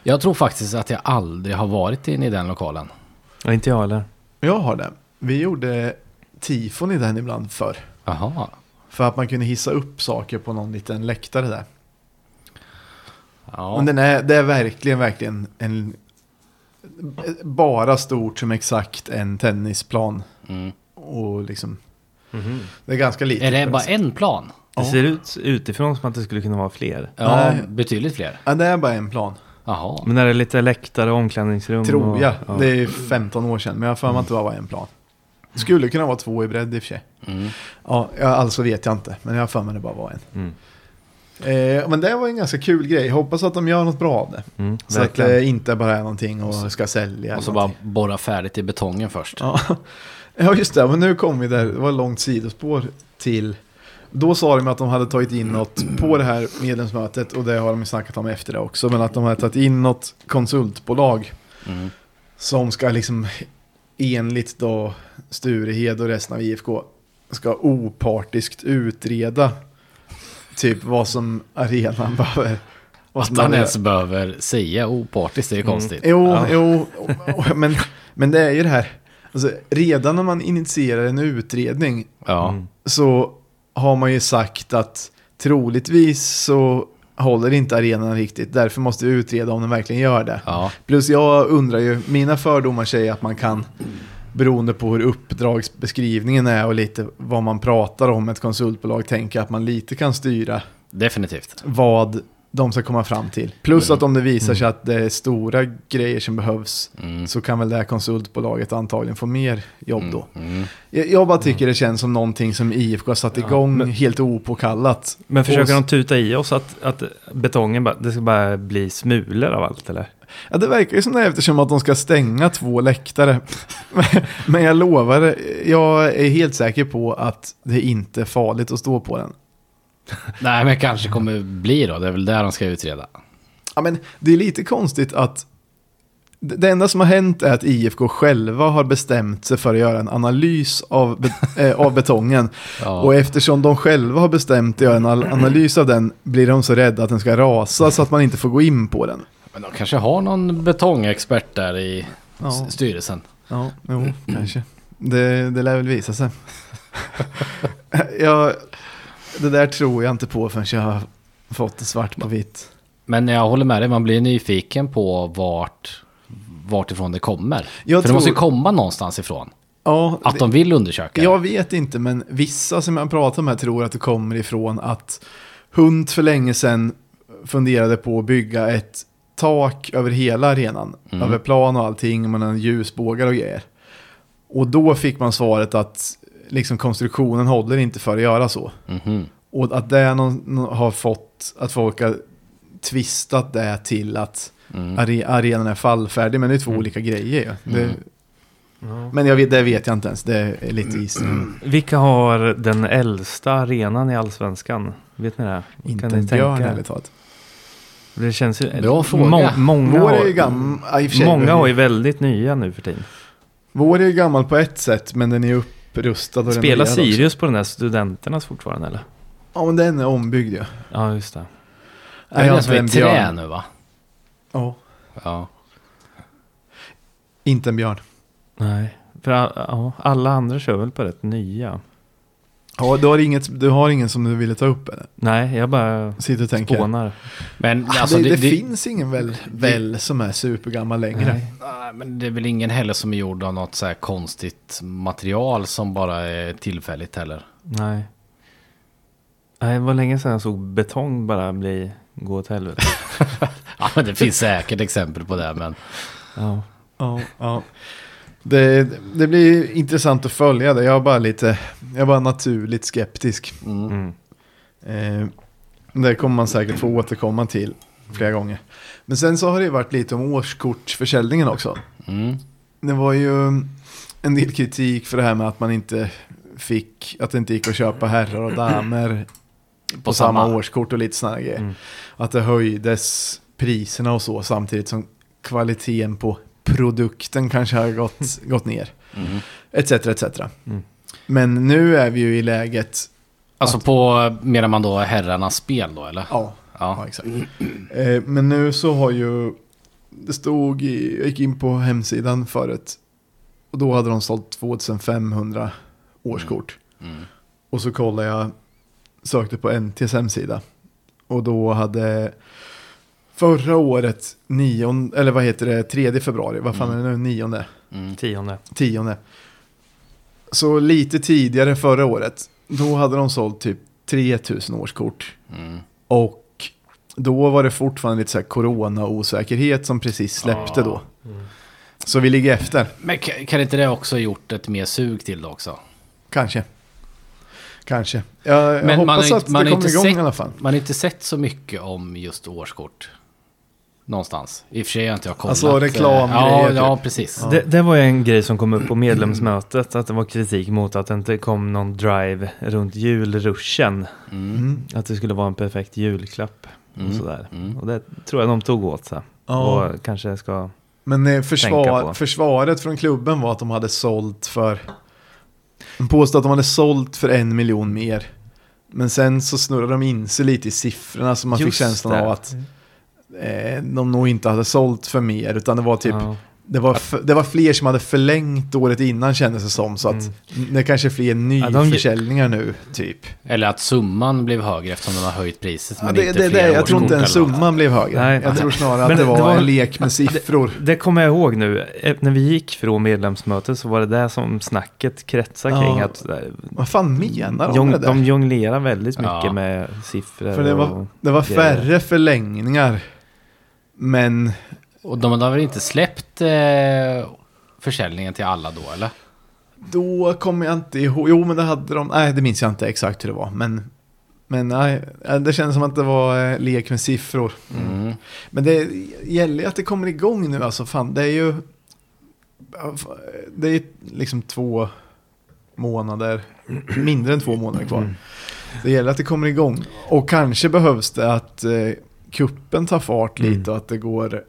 Speaker 3: Jag tror faktiskt att jag aldrig har varit inne i den lokalen.
Speaker 2: Ja, inte jag heller.
Speaker 1: Jag har det. Vi gjorde tifon i den ibland förr.
Speaker 3: Jaha.
Speaker 1: För att man kunde hissa upp saker på någon liten läktare där.
Speaker 3: Ja.
Speaker 1: Men den är, det är verkligen, verkligen en... Bara stort som exakt en tennisplan.
Speaker 3: Mm.
Speaker 1: Och liksom,
Speaker 2: Mhm.
Speaker 1: det är ganska litet.
Speaker 3: Är det bara en plan?
Speaker 2: Det
Speaker 1: Ja.
Speaker 2: ser ut utifrån som att det skulle kunna vara fler.
Speaker 3: Ja,
Speaker 1: Nej.
Speaker 3: betydligt fler.
Speaker 1: Ja, det är bara en plan.
Speaker 3: Jaha.
Speaker 2: Men är det lite läktare och omklädningsrum?
Speaker 1: Tror
Speaker 2: och,
Speaker 1: jag.
Speaker 2: Mm, Ja.
Speaker 1: Det är 15 år sedan, men jag har för mig att det var bara en plan. Skulle kunna vara två i bredd i och för sig.
Speaker 3: Mm.
Speaker 1: Ja, ja, alltså vet jag inte, men jag har för mig att det bara var en.
Speaker 2: Mm.
Speaker 1: Eh, men det var en ganska kul grej. Hoppas att de gör något bra av det.
Speaker 2: Mm,
Speaker 1: Så att eh,
Speaker 2: verkligen.
Speaker 1: det inte bara är någonting och ska sälja.
Speaker 3: Och så
Speaker 1: eller
Speaker 3: bara
Speaker 1: någonting.
Speaker 3: borra färdigt i betongen först.
Speaker 1: Ja. [LAUGHS] ja, just det. Men nu kom vi där. Det var ett långt sidospår till... Då sa de att de hade tagit in något på det här medlemsmötet och det har de ju snackat om efter det också. Men att de hade tagit in något konsultbolag
Speaker 3: Mm.
Speaker 1: som ska liksom enligt då Sturehed och resten av IFK ska opartiskt utreda typ vad som arenan [LAUGHS] behöver. vad som
Speaker 3: Att han
Speaker 1: behöver-
Speaker 3: ens behöver säga opartiskt, det är ju
Speaker 2: Mm.
Speaker 3: konstigt.
Speaker 1: Jo,
Speaker 2: Ja.
Speaker 1: jo, och- men, men det är ju det här. Alltså, redan när man initierar en utredning
Speaker 3: Ja.
Speaker 2: Mm.
Speaker 1: så har man ju sagt att troligtvis så håller inte arenan riktigt. Därför måste vi utreda om den verkligen gör det.
Speaker 3: Ja.
Speaker 1: Plus jag undrar ju, mina fördomar säger att man kan, beroende på hur uppdragsbeskrivningen är och lite vad man pratar om ett konsultbolag, tänka att man lite kan styra
Speaker 3: definitivt.
Speaker 1: vad de ska komma fram till. Plus att om det visar sig att det är stora grejer som behövs
Speaker 3: Mm.
Speaker 1: så kan väl det här konsultbolaget antagligen få mer jobb då.
Speaker 3: Mm.
Speaker 1: Jag, jag bara tycker det känns som någonting som IFK har satt igång helt opåkallat.
Speaker 2: Men försöker
Speaker 1: Och-
Speaker 2: de tuta i oss att, att betongen bara, det ska bara bli smulor av allt eller?
Speaker 1: Ja, det verkar ju som det eftersom att de ska stänga två läktare. [LAUGHS] Men- Men jag lovar, jag är helt säker på att det inte är farligt att stå på den.
Speaker 3: Nej, men kanske kommer bli då. Det är väl där de ska utreda.
Speaker 1: Ja, men det är lite konstigt att det det enda som har hänt är att IFK själva har bestämt sig för att göra en analys av, be- [LAUGHS] eh, av betongen. Och
Speaker 3: Ja.
Speaker 1: eftersom de själva har bestämt att göra en al- analys av den blir de så rädda att den ska rasa så att man inte får gå in på den.
Speaker 3: Men de kanske har någon betongexpert där i
Speaker 1: Ja.
Speaker 3: s- styrelsen.
Speaker 1: Ja, jo, kanske. Det, det lär väl visa sig. [LAUGHS] jag, det där tror jag inte på förrän jag har fått det svart på vitt.
Speaker 3: Men jag håller med dig, man blir nyfiken på vart, vart ifrån det kommer.
Speaker 1: Jag
Speaker 3: För det
Speaker 1: tror-
Speaker 3: måste ju komma någonstans ifrån.
Speaker 1: Ja,
Speaker 3: Att de vill undersöka.
Speaker 1: Jag vet inte, men vissa som jag pratar med tror att det kommer ifrån att Hunt för länge sedan funderade på att bygga ett tak över hela arenan.
Speaker 3: Mm.
Speaker 1: Över plan och allting, med en ljusbågar och grejer. Och då fick man svaret att liksom, konstruktionen håller inte för att göra så.
Speaker 3: Mhm.
Speaker 1: Och att det någon, någon har fått, att folk har twistat det till att
Speaker 3: Mm.
Speaker 1: are, arenan är fallfärdig, men det är två olika grejer. ju. Det,
Speaker 3: Mm.
Speaker 1: Men jag vet, det vet jag inte ens, det är lite
Speaker 3: [CLEARS THROAT]
Speaker 1: gissning.
Speaker 2: Vilka har den äldsta arenan i allsvenskan? Vet ni det?
Speaker 1: Inte
Speaker 2: ni
Speaker 1: en björn
Speaker 2: tänka?
Speaker 1: ärligt talat.
Speaker 2: Det känns ju...
Speaker 3: Bra fråga.
Speaker 2: många,
Speaker 1: Vår är ju
Speaker 2: har,
Speaker 1: gammal, ja, i och för sig,
Speaker 2: många
Speaker 1: den-
Speaker 2: har ju väldigt nya nu för tiden.
Speaker 1: Vår är ju gammal på ett sätt, men den är ju upprustad och
Speaker 2: Spelar
Speaker 1: renoverad också.
Speaker 2: Sirius på den där studenternas fortfarande eller?
Speaker 1: Ja, men den är ombyggd ju.
Speaker 2: Ja, just det.
Speaker 3: Det är
Speaker 1: jag
Speaker 3: den som
Speaker 1: inte
Speaker 3: är
Speaker 1: alltså en
Speaker 3: i trä
Speaker 1: björn.
Speaker 3: nu va?
Speaker 1: Ja,
Speaker 3: Ja.
Speaker 1: inte en björn.
Speaker 2: Nej. För a- ja, alla andra kör väl på rätt nya?
Speaker 1: Ja, du har, inget, du har ingen som du ville ta upp eller?
Speaker 2: Nej, jag bara
Speaker 1: Sitter och tänker.
Speaker 2: spånar.
Speaker 3: Men
Speaker 1: Ah,
Speaker 3: alltså,
Speaker 1: det, det, finns ingen väl, väl som är supergammal längre.
Speaker 2: Nej.
Speaker 3: Nej, ah, men det är väl ingen heller som är gjord av något så här konstigt material som bara är tillfälligt heller. [LAUGHS]
Speaker 2: Nej. Nej, det var länge sedan jag såg betong bara bli gå åt helvete.
Speaker 3: Ja, men det finns säkert exempel på det, men
Speaker 2: Ja.
Speaker 1: Ja, ja. Det, det blir intressant att följa det. Jag är bara lite, jag är bara naturligt skeptisk.
Speaker 2: Mm.
Speaker 1: Eh, det kommer man säkert få återkomma till flera gånger. Men sen så har det ju varit lite om årskortsförsäljningen också.
Speaker 3: mm.
Speaker 1: Det var ju en del kritik för det här med att man inte fick, att det inte gick att köpa herrar och damer
Speaker 3: på,
Speaker 1: på samma,
Speaker 3: samma,
Speaker 1: årskort och lite sådana grejer.
Speaker 2: Mm.
Speaker 1: Att det höjdes priserna och så samtidigt som kvaliteten på produkten kanske har gått, gått ner.
Speaker 3: Mm.
Speaker 1: Etc. etc.
Speaker 2: Mm.
Speaker 1: Men nu är vi ju i läget,
Speaker 3: Alltså på, menar man då herrarnas spel då eller?
Speaker 1: ja,
Speaker 3: Ja.
Speaker 1: ja exakt. [CLEARS THROAT] Eh, men nu så har ju, det stod i, jag gick in på hemsidan förut och då hade de sålt 2500 årskort.
Speaker 3: Mm.
Speaker 1: Och så kollade jag, sökte på NTs hemsida. Och då hade Förra året, nion, eller vad heter det, 3 februari, vad fan är det nu, 9,
Speaker 3: Mm.
Speaker 2: Tionde.
Speaker 1: 10. Så lite tidigare förra året, då hade de sålt typ 3000 årskort.
Speaker 3: Mm.
Speaker 1: Och då var det fortfarande lite så här corona-osäkerhet som precis släppte
Speaker 3: Ja.
Speaker 1: då. Så vi ligger efter,
Speaker 3: Men kan, kan inte det också ha gjort ett mer sug till det också?
Speaker 1: kanske. Kanske. Jag, jag
Speaker 3: Men man
Speaker 1: hoppas
Speaker 3: har ju-
Speaker 1: att
Speaker 3: man
Speaker 1: det
Speaker 3: har
Speaker 1: kommer
Speaker 3: inte
Speaker 1: igång
Speaker 3: sett-
Speaker 1: i alla fall.
Speaker 3: Man har inte sett så mycket om just årskort. Någonstans. I och för sig har inte jag kollat. eh,
Speaker 1: Alltså, reklamgrejer,
Speaker 3: Ja,
Speaker 1: typ.
Speaker 3: ja precis.
Speaker 1: Ja.
Speaker 2: Det, det var ju en grej som kom upp på medlemsmötet, att det var kritik mot att det inte kom någon drive runt julruschen.
Speaker 3: Mm.
Speaker 1: Mm.
Speaker 2: Att det skulle vara en perfekt julklapp och
Speaker 3: Mm.
Speaker 2: sådär.
Speaker 3: Mm.
Speaker 2: Och det tror jag de tog åt sig.
Speaker 1: Ja.
Speaker 2: Och kanske ska...
Speaker 1: Men eh,
Speaker 2: tänka på.
Speaker 1: försvar, försvaret från klubben var att de hade sålt för... De påstod att de hade sålt för en miljon mer. Men sen så snurrade de in sig lite i siffrorna så man fick
Speaker 2: Just
Speaker 1: känslan
Speaker 2: det.
Speaker 1: av att eh, de nog inte hade sålt för mer. Utan det var typ...
Speaker 2: Ja.
Speaker 1: Det, var f- det var fler som hade förlängt året innan kändes det som. Så att
Speaker 2: Mm.
Speaker 1: det är kanske är fler nyförsäljningar nu, typ.
Speaker 3: Eller att summan blev högre eftersom de har höjt priset.
Speaker 1: Ja,
Speaker 3: men
Speaker 1: det,
Speaker 3: inte
Speaker 1: det,
Speaker 3: fler
Speaker 1: det, jag tror
Speaker 3: årskort
Speaker 1: inte ens
Speaker 3: eller något.
Speaker 1: summan blev högre.
Speaker 2: Nej.
Speaker 1: jag tror snarare att
Speaker 2: Men
Speaker 1: det
Speaker 2: det
Speaker 1: var,
Speaker 2: var-
Speaker 1: en lek med siffror.
Speaker 2: Det kommer jag ihåg nu. Eh, När vi gick från medlemsmötet så var det där som snacket kretsade kring.
Speaker 1: Ja.
Speaker 2: Att, eh,
Speaker 1: Vad fan menar de
Speaker 2: jong,
Speaker 1: med det där?
Speaker 2: de jonglerar väldigt mycket
Speaker 3: Ja.
Speaker 2: med siffror.
Speaker 1: För det var,
Speaker 2: och,
Speaker 1: det var
Speaker 2: grejer.
Speaker 1: färre förlängningar. Men
Speaker 3: Och de har väl inte släppt eh, försäljningen till alla då eller?
Speaker 1: då kommer jag inte ihåg. Jo, men det hade de. Nej, det minns jag inte exakt hur det var. Men, men nej, det kändes som att det var eh, lek med siffror.
Speaker 3: Mm.
Speaker 1: Men det gäller ju att det kommer igång nu. Alltså, fan, det är ju... Det är ju liksom två månader, mindre än två månader
Speaker 2: Mm.
Speaker 1: kvar. Det gäller att det kommer igång. Och kanske behövs det att eh, kuppen tar fart lite
Speaker 2: Mm.
Speaker 1: och att det går...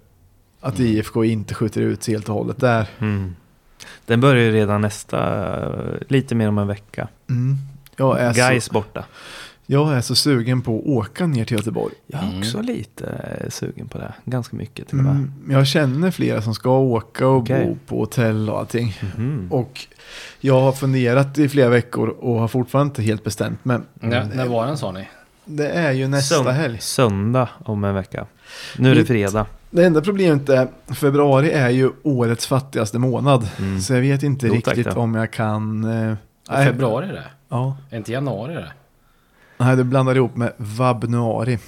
Speaker 1: Att IFK inte skjuter ut sig helt och hållet där.
Speaker 2: Mm. Den börjar ju redan nästa, eh, lite mer om en vecka.
Speaker 1: Mm. Jag, är så,
Speaker 2: Guys borta.
Speaker 1: jag är så sugen på att åka ner till Göteborg.
Speaker 2: Jag är
Speaker 3: Mm.
Speaker 2: också lite eh, sugen på det. Ganska mycket till och med.
Speaker 1: Mm. Jag känner flera som ska åka och
Speaker 2: Okej.
Speaker 1: bo på hotell och allting.
Speaker 2: Mhm.
Speaker 1: Mm. Och jag har funderat i flera veckor och har fortfarande inte helt bestämt. Men
Speaker 3: När, Mm. när var den sa ni?
Speaker 1: det är ju nästa
Speaker 2: Sönd-
Speaker 1: helg.
Speaker 2: Söndag om en vecka. Nu är det
Speaker 1: Mitt-
Speaker 2: fredag.
Speaker 1: Det enda problemet är, februari är ju årets fattigaste månad.
Speaker 2: Mm.
Speaker 1: Så jag vet inte
Speaker 2: Jo, tack
Speaker 1: riktigt
Speaker 2: då.
Speaker 1: om jag kan... Eh,
Speaker 3: I februari är det?
Speaker 1: Ja.
Speaker 3: Är inte januari det?
Speaker 1: Nej, du blandar ihop med
Speaker 2: [LAUGHS]
Speaker 1: vabnuari.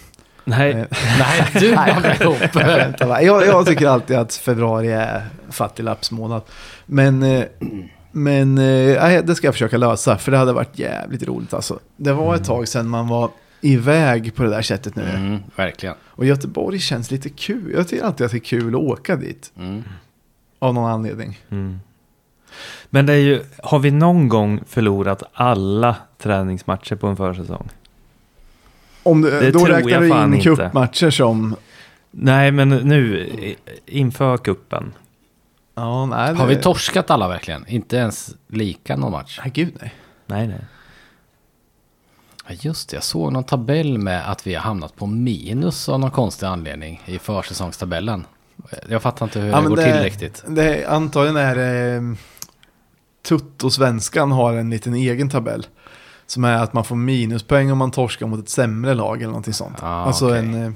Speaker 2: Nej,
Speaker 1: Eh,
Speaker 3: Nej,
Speaker 1: [LAUGHS]
Speaker 3: du blandar ihop.
Speaker 1: vänta, va? jag, jag tycker alltid att februari är fattiglappsmånad. Men, eh, men eh, nej, det ska jag försöka lösa, för det hade varit jävligt roligt alltså. Det var ett tag sedan man var iväg på det där sättet nu.
Speaker 3: Mm, verkligen.
Speaker 1: Och Göteborg känns lite kul. Jag tycker alltid att det är kul att åka dit.
Speaker 3: Mm.
Speaker 1: Av någon anledning.
Speaker 2: Mm. Men det är ju, har vi någon gång förlorat alla träningsmatcher på en försäsong?
Speaker 1: Om du,
Speaker 2: Det
Speaker 1: då
Speaker 2: tror
Speaker 1: räknar
Speaker 2: jag
Speaker 1: du
Speaker 2: fan
Speaker 1: in
Speaker 2: inte.
Speaker 1: cupmatcher som...
Speaker 2: Nej, men nu i- inför kuppen.
Speaker 1: Ja, nej.
Speaker 3: Har
Speaker 1: det-
Speaker 3: vi torskat alla verkligen? Inte ens lika någon match?
Speaker 1: Nej, gud nej.
Speaker 2: Nej, nej.
Speaker 3: Ja, just det, jag såg någon tabell med att vi har hamnat på minus av någon konstig anledning i försäsongstabellen. Jag fattar inte hur
Speaker 1: Ja,
Speaker 3: det
Speaker 1: men
Speaker 3: går
Speaker 1: det-
Speaker 3: till riktigt.
Speaker 1: Det, antagligen är det... ehm, Tuttosvenskan har en liten egen tabell. Som är att man får minuspoäng om man torskar mot ett sämre lag eller någonting sånt.
Speaker 3: Ah,
Speaker 1: alltså
Speaker 3: okej.
Speaker 1: en, eh,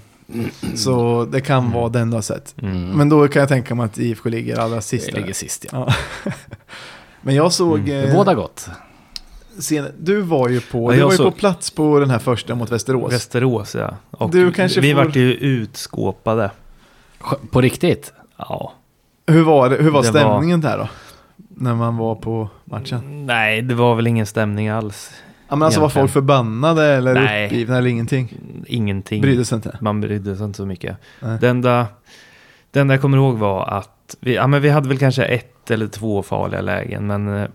Speaker 1: så det kan vara den du har sett.
Speaker 3: Mm.
Speaker 1: Men då kan jag tänka mig att IFK ligger allra sist.
Speaker 3: det
Speaker 1: där.
Speaker 3: ligger sist ja.
Speaker 1: Ja. [LAUGHS] Men jag såg...
Speaker 3: Det
Speaker 1: eh,
Speaker 3: båda gott.
Speaker 1: Sen, du var ju på,
Speaker 2: Ja,
Speaker 1: du
Speaker 2: jag
Speaker 1: var ju
Speaker 2: såg-
Speaker 1: på plats på den här första mot Västerås.
Speaker 2: Västerås, ja. Och
Speaker 1: Du kanske
Speaker 2: vi
Speaker 1: får-
Speaker 2: vart ju utskåpade.
Speaker 3: På riktigt?
Speaker 2: Ja.
Speaker 1: hur var, det- hur var
Speaker 2: Det var-
Speaker 1: stämningen där då? När man var på matchen?
Speaker 2: Nej, det var väl ingen stämning alls.
Speaker 1: Ja, men alltså var
Speaker 2: Egentligen.
Speaker 1: folk förbannade eller
Speaker 2: Nej.
Speaker 1: uppgivna eller ingenting?
Speaker 2: Ingenting.
Speaker 1: Brydde sig inte?
Speaker 2: Man brydde sig inte så mycket.
Speaker 1: Nej.
Speaker 2: Det enda, det enda jag kommer ihåg var att vi, ja, men vi hade väl kanske ett eller två farliga lägen, men eh,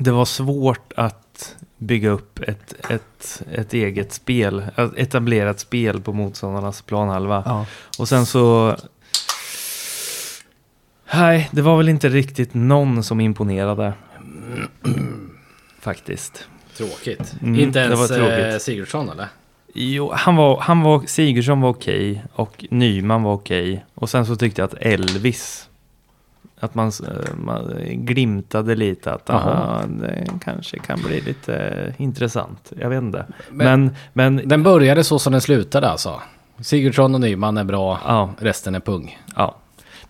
Speaker 2: det var svårt att bygga upp ett, ett, ett eget spel, ett etablerat spel på motståndarnas planhalva.
Speaker 1: Ja.
Speaker 2: Och sen så... Nej, det var väl inte riktigt någon som imponerade. Faktiskt.
Speaker 3: Tråkigt.
Speaker 2: Mm,
Speaker 3: inte
Speaker 2: det
Speaker 3: ens
Speaker 2: var tråkigt.
Speaker 3: eh, Sigurdsson eller?
Speaker 2: Jo, han var, han var, Sigurdsson var okej och Nyman var okej. Och sen så tyckte jag att Elvis, att man, eh, man glimtade lite att
Speaker 3: Jaha.
Speaker 2: aha, det kanske kan bli lite eh, intressant. Jag vet inte.
Speaker 3: Men-
Speaker 2: Men, men,
Speaker 3: Den började så som den slutade alltså. Sigurdsson och Nyman är bra,
Speaker 2: Ja,
Speaker 3: resten är pung.
Speaker 2: ja.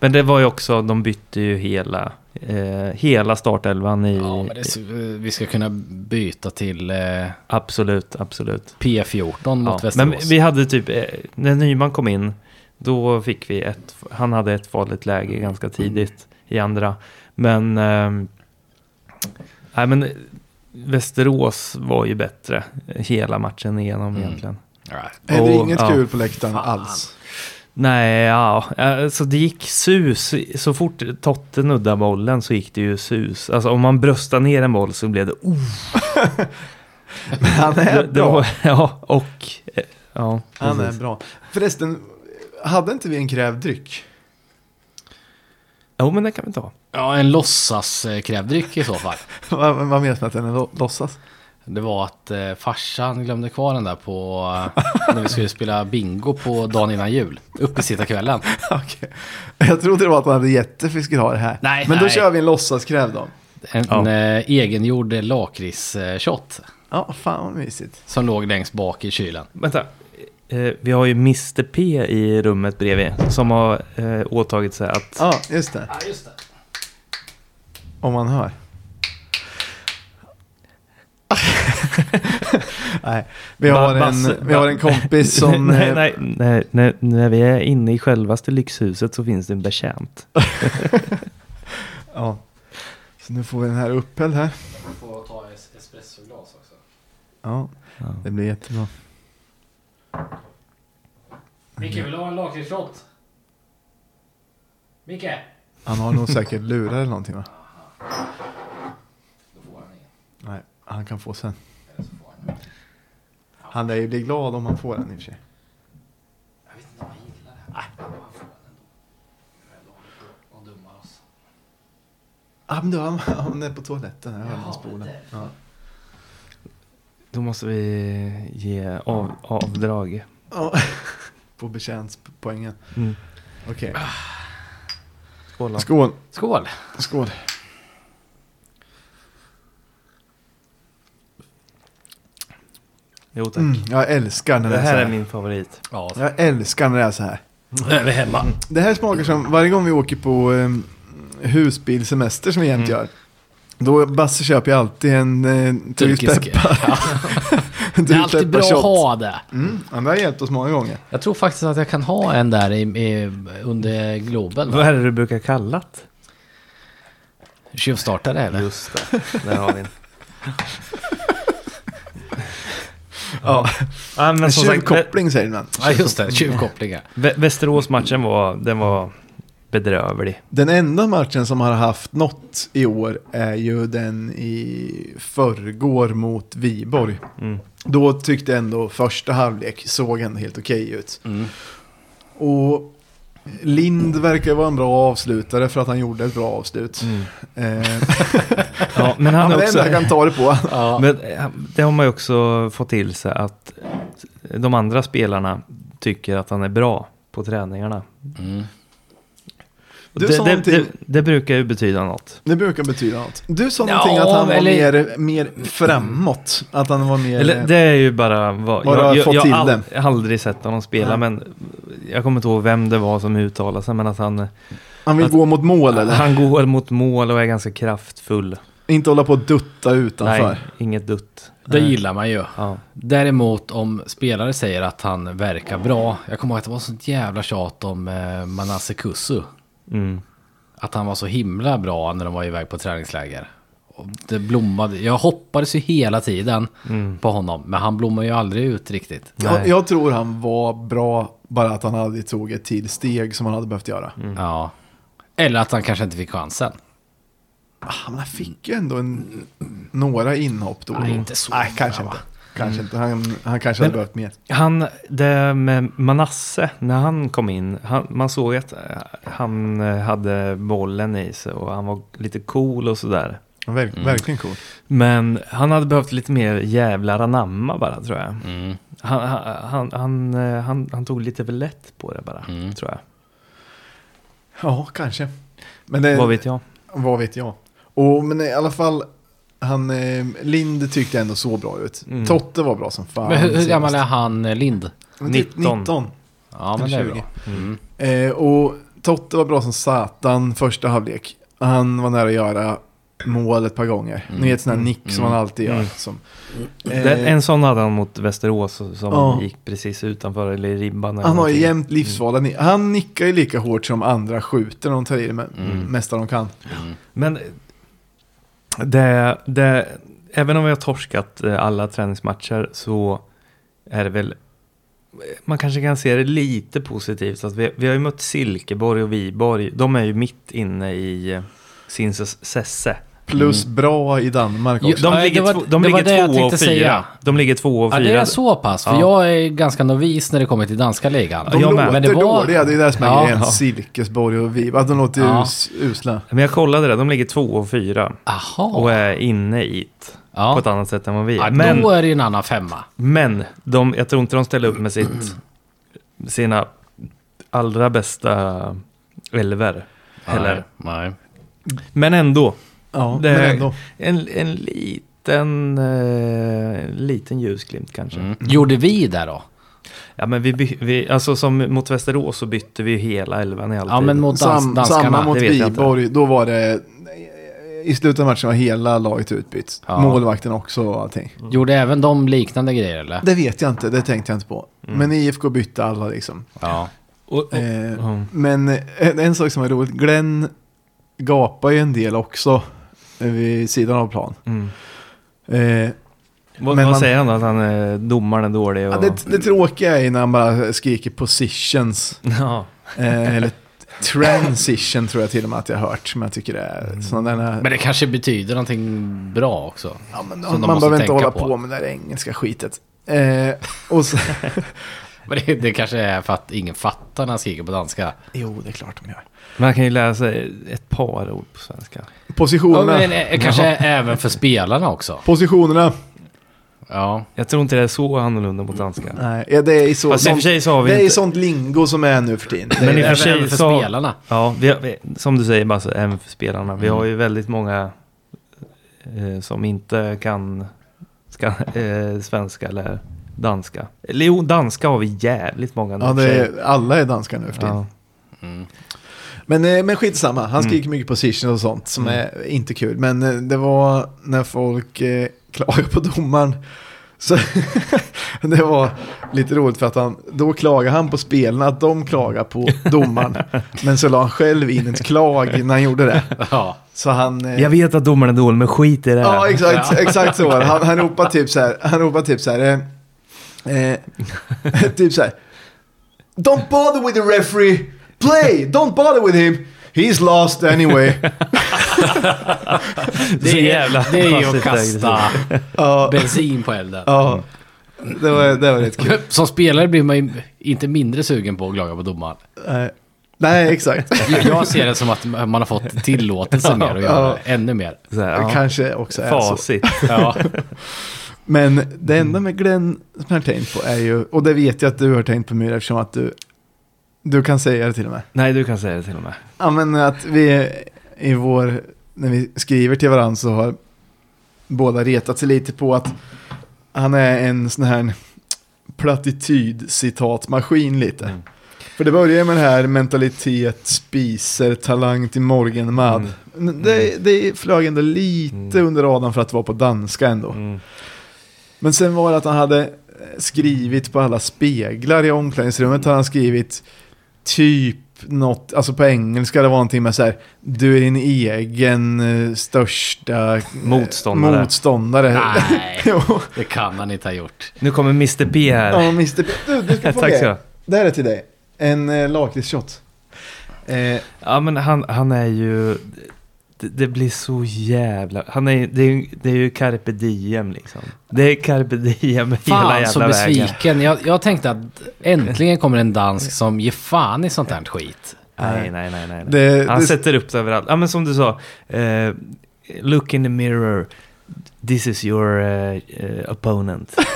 Speaker 2: Men det var ju också, de bytte ju hela, eh, hela startelvan i...
Speaker 3: Ja, men det, vi ska kunna byta till eh,
Speaker 2: Absolut, absolut.
Speaker 3: P14
Speaker 2: Ja,
Speaker 3: mot
Speaker 2: men
Speaker 3: Västerås.
Speaker 2: vi hade typ, eh, när Nyman kom in, då fick vi ett, han hade ett farligt läge ganska tidigt i andra. Men, ehm, nej men Västerås var ju bättre hela matchen igenom
Speaker 3: Mm.
Speaker 2: egentligen.
Speaker 3: Ja,
Speaker 1: Är det
Speaker 2: Och-
Speaker 1: inget
Speaker 2: ja.
Speaker 1: kul på läktaren
Speaker 3: Fan.
Speaker 1: alls?
Speaker 2: Nej, ja, eh, så det gick sus. Så fort Totte nuddade bollen så gick det ju sus. Alltså om man bröstade ner en boll så blev det oh,
Speaker 1: [LAUGHS] Han är
Speaker 2: det, det
Speaker 1: bra.
Speaker 2: var, [LAUGHS] Ja, och, eh, ja.
Speaker 1: Han är
Speaker 2: precis.
Speaker 1: bra. Förresten, hade inte vi en krävd dryck? [LAUGHS]
Speaker 2: Jo, men det kan vi ta.
Speaker 3: Ja, en låtsaskrävdryck i så fall.
Speaker 1: Vad vad menas med att den är lo- låtsas? [LAUGHS]
Speaker 3: Det var att eh, farsan glömde kvar den där på eh, när vi skulle spela bingo på dagen innan jul. Uppe sitta kvällen.
Speaker 1: Okej. Jag trodde det var att man hade gett det för att vi skulle ha det här.
Speaker 3: Nej,
Speaker 1: Men då
Speaker 3: nej.
Speaker 1: kör vi en låtsaskrävd då.
Speaker 3: En
Speaker 2: Ja.
Speaker 3: eh, egengjord lakritsshot
Speaker 1: Ja, fan vad mysigt.
Speaker 3: som låg längst bak i kylen.
Speaker 2: Vänta. Eh, vi har ju Mr P i rummet bredvid som har eh, åtagit sig att...
Speaker 1: Ja, just det.
Speaker 3: Ja, just det.
Speaker 1: Om man
Speaker 2: [LAUGHS]
Speaker 1: hör. nej, vi har,
Speaker 2: Ba- bass-
Speaker 1: en, vi har en
Speaker 2: [LAUGHS]
Speaker 1: kompis som...
Speaker 2: nej,
Speaker 1: eh,
Speaker 2: nej, nej, nej, när vi är inne i självaste lyxhuset så finns det en betjänt.
Speaker 1: Ja. Så nu får vi den här upphälld här.
Speaker 3: Får ta espressoglas också.
Speaker 1: Ja,
Speaker 2: Ja.
Speaker 1: det blir jättebra.
Speaker 3: Micke, vill du ha en lakritsshot? Micke?
Speaker 1: Han har nog säkert lurar eller någonting va? Nej, han kan få sen. Han lär ju bli glad om han får den i och för sig. Ja, men du, han, han är på toaletten. Jag hörde honom spola. Ja.
Speaker 2: Då måste vi ge av, avdrag.
Speaker 1: Ja. [LAUGHS] På betjänstpoängen.
Speaker 2: Mm.
Speaker 1: Okej.
Speaker 2: Skål. då.
Speaker 1: Skål.
Speaker 3: Skål!
Speaker 1: Skål.
Speaker 2: Jo tack.
Speaker 1: Mm, jag älskar när det,
Speaker 2: Det
Speaker 1: är så
Speaker 2: här
Speaker 1: här.
Speaker 2: är min favorit.
Speaker 3: Ja,
Speaker 1: Jag älskar när det är så här.
Speaker 3: nu är vi [LAUGHS] hemma.
Speaker 1: Det här smakar som varje gång vi åker på eh, husbilsemester som vi
Speaker 3: Mm.
Speaker 1: jämt gör. Då Basse köper jag alltid en eh, turkisk
Speaker 3: Turkisk.
Speaker 1: peppar. [LAUGHS]
Speaker 3: Det är alltid bra att ha det.
Speaker 1: Mm, ja, det har hjälpt oss många gånger.
Speaker 3: Jag tror faktiskt att jag kan ha en där i, i, under Globen.
Speaker 2: Vad
Speaker 3: va?
Speaker 2: är det du brukar kallat?
Speaker 3: Tjuvstartare eller?
Speaker 2: Just det, där har vi en.
Speaker 1: [LAUGHS] Ja.
Speaker 2: Ja, men
Speaker 1: En
Speaker 2: som sagt, Vä-
Speaker 3: eh,
Speaker 1: tjuvkoppling säger man.
Speaker 3: Ja just det, [LAUGHS] tjuvkopplingar.
Speaker 2: Vä- Västerås-matchen var, den var bedrövlig.
Speaker 1: Den enda matchen som har haft något i år är ju den i förrgår mot Viborg.
Speaker 2: Mm.
Speaker 1: Då tyckte ändå första halvlek såg ändå helt okej ut.
Speaker 3: Mm.
Speaker 1: Och Lind verkar vara en bra avslutare för att han gjorde ett bra avslut.
Speaker 3: Mm.
Speaker 1: Eh,
Speaker 2: Ja, men han
Speaker 1: Han
Speaker 2: är
Speaker 1: är
Speaker 2: också...
Speaker 1: enda jag kan ta det på.
Speaker 3: Ja.
Speaker 2: Men eh, det har man ju också fått till sig att de andra spelarna tycker att han är bra på träningarna.
Speaker 3: Mm.
Speaker 2: Och
Speaker 1: Du
Speaker 2: det,
Speaker 1: sa
Speaker 2: det,
Speaker 1: någonting-
Speaker 2: det, det brukar ju betyda något.
Speaker 1: Det brukar betyda något. Du sa
Speaker 3: Ja,
Speaker 1: någonting att han var
Speaker 3: eller-
Speaker 1: mer, mer framåt. Att han var mer...
Speaker 2: Eller, det är ju bara vad
Speaker 1: Eh, Bara
Speaker 2: jag,
Speaker 1: fått
Speaker 2: jag, jag
Speaker 1: till
Speaker 2: har all-
Speaker 1: det.
Speaker 2: aldrig sett honom spela,
Speaker 1: Nej.
Speaker 2: men jag kommer inte ihåg vem det var som uttalade sig, men att han,
Speaker 1: han vill
Speaker 2: att-
Speaker 1: gå mot mål eller?
Speaker 2: han går mot mål och är ganska kraftfull.
Speaker 1: Inte hålla på och dutta utanför.
Speaker 2: Nej, inget dutt.
Speaker 3: Det gillar man ju.
Speaker 2: Ja.
Speaker 3: Däremot om spelare säger att han verkar bra. Jag kommer ihåg att det var sånt jävla tjat om eh, Manasse Kusu.
Speaker 2: Mm.
Speaker 3: Att han var så himla bra när de var iväg på träningsläger. Och det blommade. Jag hoppades ju hela tiden på honom. Men han blommar ju aldrig ut riktigt.
Speaker 1: Jag,
Speaker 2: Nej.
Speaker 1: jag tror han var bra, bara att han aldrig tog ett till steg som han hade behövt göra.
Speaker 2: Mm.
Speaker 3: Ja. Eller att han kanske inte fick chansen.
Speaker 1: Ah, men han fick ju ändå en, några inhopp då.
Speaker 3: Nej, inte så
Speaker 1: Nej, kanske
Speaker 3: många,
Speaker 1: inte.
Speaker 3: va?
Speaker 2: Mm.
Speaker 1: Kanske inte. Han, han kanske hade behövt mer.
Speaker 2: Han, det med Manasse, när han kom in, han, man såg att eh, han eh, hade bollen i sig och han var lite cool och sådär.
Speaker 1: Verk,
Speaker 2: Mm.
Speaker 1: Verkligen cool.
Speaker 2: Men han hade behövt lite mer jävlar anamma bara tror jag.
Speaker 3: Mm.
Speaker 2: Han, han, han, han, eh, han, han tog lite för lätt på det bara,
Speaker 3: Mm.
Speaker 2: tror jag.
Speaker 1: Ja, kanske. Men det,
Speaker 2: Vad vet jag?
Speaker 1: Vad vet jag. Och, men i alla fall, han, eh, Lind tyckte ändå så bra ut.
Speaker 2: Mm.
Speaker 1: Totte var bra som fan.
Speaker 3: Men hur, hur
Speaker 1: senast.
Speaker 3: gammal är han eh, Lind?
Speaker 1: Men typ
Speaker 2: 19.
Speaker 1: 19.
Speaker 3: Ja, men det är
Speaker 1: 20.
Speaker 3: bra. Mm.
Speaker 1: Eh, och Totte var bra som satan första halvlek. Han var nära att göra mål ett par gånger.
Speaker 3: Mm.
Speaker 1: Ni vet sån här nick som
Speaker 3: Mm.
Speaker 1: han alltid gör.
Speaker 2: Mm.
Speaker 1: Som,
Speaker 2: Den- En sån hade han mot Västerås som
Speaker 1: Eh. Ja.
Speaker 2: gick precis utanför, eller i ribban. eller
Speaker 1: han har ju
Speaker 2: någonting.
Speaker 1: jämt livsfarliga nick. Han nickar ju lika hårt som andra skjuter när de tar i det med,
Speaker 3: Mm.
Speaker 1: mesta de kan.
Speaker 3: Mm.
Speaker 2: Men eh, det, det, även om vi har torskat eh, alla träningsmatcher så är det väl, eh, man kanske kan se det lite positivt. Att vi, vi har ju mött Silkeborg och Viborg, de är ju mitt inne i eh, sin ses- sesse.
Speaker 1: Plus
Speaker 3: Mm.
Speaker 1: bra i Danmark
Speaker 3: Jo,
Speaker 1: också.
Speaker 2: De
Speaker 3: Nej,
Speaker 2: ligger,
Speaker 3: det var-
Speaker 2: två, de
Speaker 3: det var
Speaker 2: ligger
Speaker 3: det jag
Speaker 2: två och fyra.
Speaker 3: tänkte säga.
Speaker 2: De ligger två och
Speaker 3: Ja,
Speaker 2: fyra.
Speaker 3: det är så pass, för
Speaker 2: Ja.
Speaker 3: jag är ganska novis när det kommer till danska ligan.
Speaker 1: De
Speaker 2: jag med.
Speaker 1: låter
Speaker 3: Men det var-
Speaker 1: dåliga, det är det som är
Speaker 3: Ja.
Speaker 1: grejen.
Speaker 2: Ja.
Speaker 1: Silkesborg och Viva, de låter ju
Speaker 3: Ja.
Speaker 1: us, usla.
Speaker 2: Men jag kollade det, de ligger två och fyra
Speaker 3: Aha.
Speaker 2: och är inne i det på
Speaker 3: Ja.
Speaker 2: ett annat sätt än vad vi är.
Speaker 3: Ja,
Speaker 2: Men-
Speaker 3: då är det ju en annan femma.
Speaker 2: Men de, jag tror inte de ställer upp med sitt, sina allra bästa elver. Heller.
Speaker 3: Nej.
Speaker 2: Men ändå,
Speaker 1: Ja,
Speaker 2: Det-
Speaker 1: men ändå.
Speaker 2: en, en liten, eh, en liten ljusglimt kanske.
Speaker 3: Mm. Gjorde vi det då?
Speaker 2: Ja, men vi, by- vi, alltså som mot Västerås så bytte vi ju hela elvan i alltid.
Speaker 3: Ja, men mot dans,
Speaker 1: Sam,
Speaker 3: danskarna.
Speaker 1: samma mot
Speaker 2: det vet jag inte.
Speaker 1: Viborg, då var det... I slutet av matchen var hela laget utbytt.
Speaker 3: Ja.
Speaker 1: Målvakten också och allting.
Speaker 3: Gjorde även de liknande grejer eller?
Speaker 1: Det vet jag inte, det tänkte jag inte på. Men IFK bytte alla liksom.
Speaker 3: Ja.
Speaker 2: och, och,
Speaker 1: Eh,
Speaker 2: ja.
Speaker 1: Men en, en sak som är roligt, Glenn gapar ju en del också eh, vid sidan av plan.
Speaker 2: mm.
Speaker 1: Eh,
Speaker 2: Vad,
Speaker 1: Men
Speaker 2: vad
Speaker 1: man-
Speaker 2: säger han då? Att han är domaren är dålig? Och,
Speaker 1: ja, det, det tråkiga är när han bara skriker positions.
Speaker 2: [LAUGHS] Ja.
Speaker 1: Eh, eller transition tror jag till och med att jag har hört. Som jag tycker det är sådana där...
Speaker 3: Men det kanske betyder någonting bra också.
Speaker 1: Ja, men
Speaker 3: Som de
Speaker 1: man
Speaker 3: måste
Speaker 1: behöver inte
Speaker 3: tänka
Speaker 1: hålla på.
Speaker 3: på.
Speaker 1: med det där engelska skitet. Eh, och så,
Speaker 3: Men det, det kanske är för att ingen fattar när han skriker på danska.
Speaker 1: jo, det är klart de gör.
Speaker 2: Man kan ju lära sig ett par ord på svenska.
Speaker 3: Ja,
Speaker 1: Positionerna.
Speaker 3: men, eh, kanske även för spelarna också.
Speaker 1: Positionerna.
Speaker 3: Ja.
Speaker 2: Jag tror inte det är så annorlunda mot danska.
Speaker 1: Nej, ja, det är i så,
Speaker 2: Fast i och för sig så har vi
Speaker 1: Mm. det är i
Speaker 2: inte-
Speaker 1: sånt lingo som är nu för tiden. Det är-
Speaker 2: Men i och för
Speaker 3: även,
Speaker 2: sig
Speaker 3: även för
Speaker 2: så-
Speaker 3: spelarna.
Speaker 2: Ja, vi har, vi, som du säger Basse, även för spelarna. Vi har ju väldigt många eh, som inte kan ska, eh, svenska eller danska. Eller jo, danska har vi jävligt många. nu
Speaker 1: Ja,
Speaker 2: i och för
Speaker 1: det
Speaker 2: sig.
Speaker 1: är, alla är danskar nu för tiden.
Speaker 2: ja.
Speaker 1: Men, eh, men skitsamma, han skriker mycket position och sånt som är inte kul. Men eh, det var när folk eh, klagade på domaren. Så [LAUGHS] det var lite roligt för att han, då klagade han på spelarna att de klagar på domaren. men så la han själv in ett klag när han gjorde det.
Speaker 3: Ja.
Speaker 1: Så han... eh,
Speaker 2: Jag vet att domaren är dålig, men skit i det.
Speaker 1: Ja, exakt, exakt så. var det. Han, han ropar typ så här. Han ropar typ så här. Eh, eh, [LAUGHS] typ så här. Don't bother with the referee. Play! Don't bother with him. He's lost [LAUGHS] anyway.
Speaker 2: det är [LAUGHS] så jävla
Speaker 3: det är ju
Speaker 2: passivt
Speaker 3: att kasta
Speaker 2: aggressivt.
Speaker 1: Ja,
Speaker 3: bensin på elden.
Speaker 1: ja. Det var, det var rätt kul. [LAUGHS]
Speaker 3: Som spelare blir man ju inte mindre sugen på att klaga på domaren.
Speaker 1: Nej, Nej, exakt.
Speaker 3: Jag- Jag ser det som att man har fått tillåtelse mer att göra det. Ännu mer.
Speaker 2: Så här, ja.
Speaker 1: Kanske också är så.
Speaker 2: Facit.
Speaker 3: Ja.
Speaker 1: Men det enda med Glenn som jag har tänkt på är ju, och det vet jag att du har tänkt på Myra eftersom att du, du kan säga det till och med.
Speaker 2: Nej, du kan säga det till och med.
Speaker 1: Ja men att vi i vår, när vi skriver till varandra så har båda retat sig lite på att han är en sån här plattityd-citatmaskin lite.
Speaker 2: Mm.
Speaker 1: För det börjar med det här mentalitet, spiser, talang till morgonmad. Det, det flög ändå lite under radarn för att vara på danska ändå.
Speaker 2: Mm.
Speaker 1: Men sen var det att han hade eh, skrivit på alla speglar i omklädningsrummet. Hade han skrivit typ något, alltså på engelska det var någonting med så här. Du är din egen eh, största eh,
Speaker 2: Motståndare.
Speaker 1: motståndare.
Speaker 3: Nej,
Speaker 1: [LAUGHS] Jo.
Speaker 3: det kan han inte ha gjort.
Speaker 2: Nu kommer Mr. P här.
Speaker 1: ja, Mr. P- Du, du
Speaker 3: [LAUGHS]
Speaker 1: ska få
Speaker 2: [LAUGHS] Tack så
Speaker 1: det.
Speaker 2: mycket.
Speaker 1: Det här är till dig. En eh, lakritsshot. Eh,
Speaker 2: Ja men han, han är ju... Det, det blir så jävla... Han är, det, är, ju- det är ju carpe diem liksom. Det är carpe diem hela
Speaker 3: Fan så
Speaker 2: jävla vägen.
Speaker 3: besviken. Jag, jag tänkte att äntligen kommer en dansk som ger fan i sånt här skit.
Speaker 2: Nej, nej, nej, nej. nej.
Speaker 1: Det-
Speaker 2: han
Speaker 1: det-
Speaker 2: sätter upp det överallt. Ja men som du sa. eh, look in the mirror. This is your eh, eh, opponent.
Speaker 1: [LAUGHS]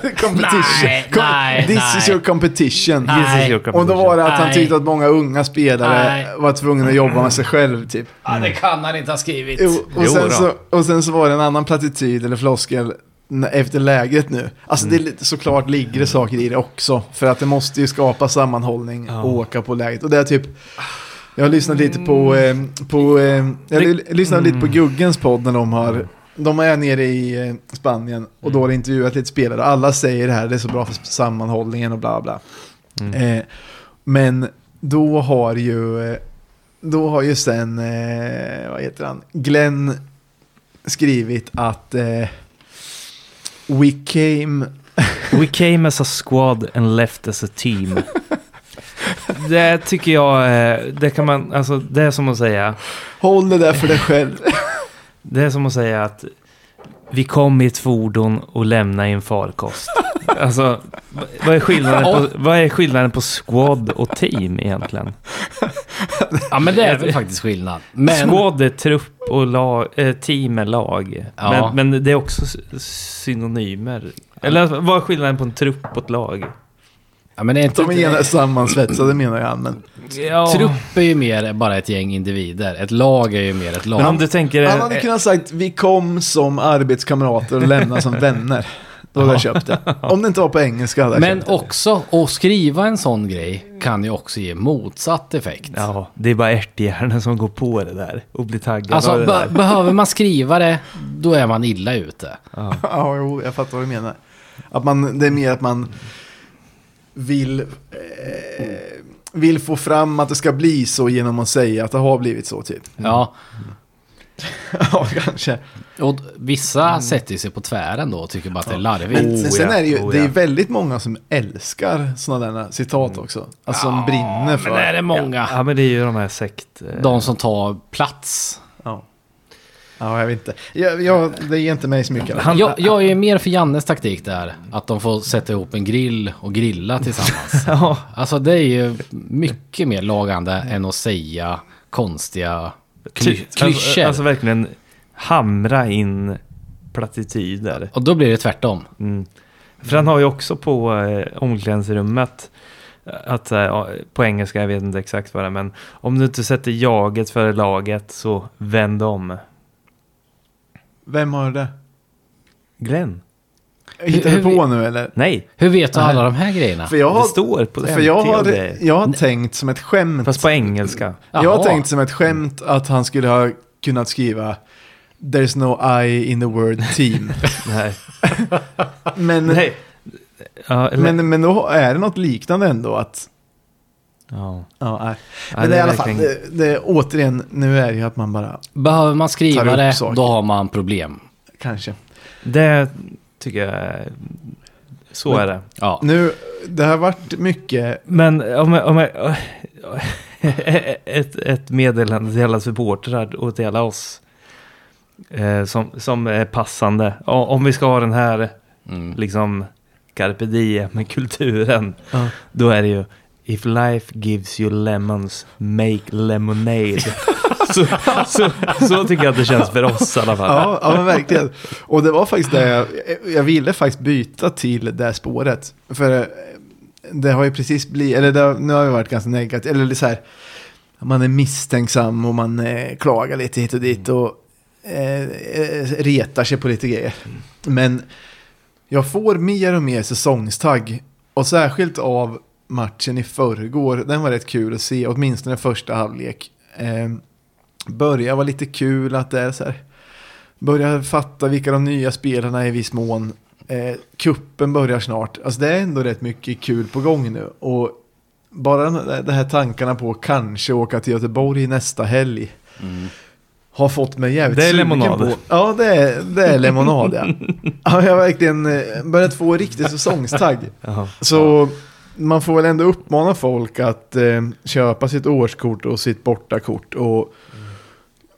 Speaker 1: competition.
Speaker 3: Nej, nej,
Speaker 1: This is
Speaker 3: nej.
Speaker 1: your competition.
Speaker 3: Nej.
Speaker 2: This is your competition.
Speaker 1: Och då var det att han
Speaker 3: Nej.
Speaker 1: tyckte att många unga spelare
Speaker 3: Nej. Mm.
Speaker 1: var tvungna att jobba med sig själv typ.
Speaker 3: Ja, det kan han inte ha skrivit.
Speaker 1: Jo, och,
Speaker 2: Jo
Speaker 1: sen
Speaker 2: då.
Speaker 1: så, och sen så var det en annan plattityd eller floskel n- efter lägret nu. Alltså det är
Speaker 2: Mm.
Speaker 1: lite, såklart ligger det saker i det också. För att det måste ju skapa sammanhållning
Speaker 2: Ja.
Speaker 1: och åka på lägret. Och det är typ, jag har lyssnat lite på, eh, på eh, jag l- lyssnade lite på
Speaker 2: Mm.
Speaker 1: Guggens podd när de har de är nere i eh, Spanien och då har de intervjuat lite spelare. Alla säger det här, det är så bra för sammanhållningen och bla bla. Eh, men då har ju, eh, då har ju sen, eh, vad heter han, Glenn skrivit att eh, We came,
Speaker 2: We came as a squad and left as a
Speaker 1: [LAUGHS]
Speaker 2: team. Det tycker jag, eh, det kan man, alltså det är som att säga,
Speaker 1: håll det där för dig själv.
Speaker 2: det är som att säga att vi kom i ett fordon och lämnade i en farkost. Alltså, v- vad är skillnaden på, vad är skillnaden på squad och team egentligen?
Speaker 3: Ja men det är väl faktiskt skillnad. Men...
Speaker 2: Squad är trupp och lag, eh, team är lag.
Speaker 3: Ja.
Speaker 2: Men, men det är också s- synonymer. Eller alltså, vad är skillnaden på en trupp och ett lag?
Speaker 3: Ja, men är inte,
Speaker 1: De är sammansvetsade menar jag. Men
Speaker 2: Ja.
Speaker 3: Trupp är ju mer bara ett gäng individer. Ett lag är ju mer ett lag.
Speaker 2: Men om du tänker...
Speaker 1: han hade kunnat sagt vi kom som arbetskamrater och lämnade som vänner. Då hade jag köpt det. Om det inte var på engelska hade jag
Speaker 3: Men
Speaker 1: köpt det.
Speaker 3: också, att skriva en sån grej kan ju också ge motsatt effekt.
Speaker 2: Ja, det är bara ärthjärnan som går på det där och blir taggad
Speaker 3: Alltså,
Speaker 2: av det
Speaker 3: be-
Speaker 2: där.
Speaker 3: behöver man skriva det, då är man illa ute.
Speaker 2: Mm.
Speaker 1: Ja, jo, jag fattar vad du menar. Att man, det är mer att man vill, eh, vill få fram att det ska bli så genom att säga att det har blivit så typ. [LAUGHS]
Speaker 3: Ja,
Speaker 1: ja, kanske.
Speaker 3: och vissa sätter ju sig på tvären då och tycker bara att det är larvigt.
Speaker 1: Men
Speaker 2: Oh,
Speaker 1: sen
Speaker 2: Mm. ja,
Speaker 1: är det ju
Speaker 2: oh,
Speaker 1: det är
Speaker 2: ja.
Speaker 1: väldigt många som älskar sådana där citat också. Alltså som brinner för.
Speaker 3: Men är det många?
Speaker 2: Ja, men det är ju de här sekt... eh,
Speaker 3: De som tar plats.
Speaker 1: Ja. ja, jag vet inte. Jag, jag, det ger inte mig så mycket.
Speaker 2: Han-
Speaker 3: Jag, jag är ju mer för Jannes taktik där. Att de får sätta ihop en grill och grilla tillsammans.
Speaker 2: [LAUGHS] Ja,
Speaker 3: Alltså det är ju mycket mer lagande än att säga konstiga kly-
Speaker 2: ty- alltså,
Speaker 3: klyschor.
Speaker 2: alltså verkligen hamra in plattityder.
Speaker 3: Och då blir det tvärtom.
Speaker 2: Mm. För han har ju också på eh, omklädningsrummet att, eh, ja, på engelska, jag vet inte exakt vad det är, men om du inte sätter jaget före laget så vänd om.
Speaker 1: Vem har det?
Speaker 2: Glenn?
Speaker 1: Hittar
Speaker 3: Hur-
Speaker 1: du på nu eller?
Speaker 2: Nej,
Speaker 3: Hur vet du alla de här grejerna?
Speaker 1: För jag
Speaker 2: det
Speaker 1: har,
Speaker 2: står på
Speaker 1: för jag
Speaker 2: MT och
Speaker 1: har,
Speaker 2: grejer.
Speaker 1: jag har tänkt som ett skämt.
Speaker 2: Fast
Speaker 1: [LAUGHS]
Speaker 2: på engelska.
Speaker 1: Jag har
Speaker 3: Jaha.
Speaker 1: tänkt som ett skämt att han skulle ha kunnat skriva There's no I in the word
Speaker 2: [LAUGHS]
Speaker 1: team.
Speaker 2: Nej.
Speaker 1: men,
Speaker 2: Nej. Ja, eller,
Speaker 1: men, men då är det något liknande ändå att...
Speaker 2: ja.
Speaker 1: Ja, nej. Men
Speaker 2: Ja,
Speaker 1: det är i
Speaker 2: är
Speaker 1: alla fall,
Speaker 2: verkligen-
Speaker 1: det, det, återigen, nu är det ju att man bara,
Speaker 3: Behöver man
Speaker 1: Tar
Speaker 3: skriva
Speaker 1: upp
Speaker 3: det,
Speaker 1: saker.
Speaker 3: då har man problem.
Speaker 1: kanske.
Speaker 2: Det tycker jag... är- Så
Speaker 1: Men-
Speaker 2: är det.
Speaker 3: Ja.
Speaker 1: Nu, det har varit mycket,
Speaker 2: Men om jag... Om jag [LAUGHS] ett, ett meddelande till alla supportrar och till alla oss. Eh, som, som är passande. O- Om vi ska ha den här
Speaker 3: Mm.
Speaker 2: liksom carpe diem-kulturen.
Speaker 1: Ja.
Speaker 2: Då är det ju If life gives you lemons, make lemonade.
Speaker 1: [LAUGHS]
Speaker 2: så, så, så tycker jag att det känns för oss i alla fall.
Speaker 1: ja, ja men verkligen. Och det var faktiskt det, jag- jag ville faktiskt byta till det spåret. För eh, det har ju precis blivit, eller det, har- nu har jag varit ganska negativ, eller så här, man är misstänksam och man eh, klagar lite hit och dit och eh, eh, retar sig på lite grejer. Men jag får mer och mer säsongstagg. Och särskilt av matchen i förrgår. Den var rätt kul att se, åtminstone första halvlek. Eh, börja vara lite kul att det är så här. Börja fatta vilka de nya spelarna är i viss mån. Eh, kuppen börjar snart. Alltså det är ändå rätt mycket kul på gång nu. Och bara den- de här tankarna på att kanske åka till Göteborg nästa helg.
Speaker 3: Mm.
Speaker 1: Har fått mig jävligt
Speaker 2: Det är
Speaker 1: sugen
Speaker 2: lemonad.
Speaker 1: På. Ja, det är, det är lemonad
Speaker 2: [LAUGHS]
Speaker 1: ja. ja. Jag har verkligen eh, börjat få riktig säsongstagg.
Speaker 2: Ja.
Speaker 1: Så man får väl ändå uppmana folk att eh, köpa sitt årskort och sitt bortakort. Och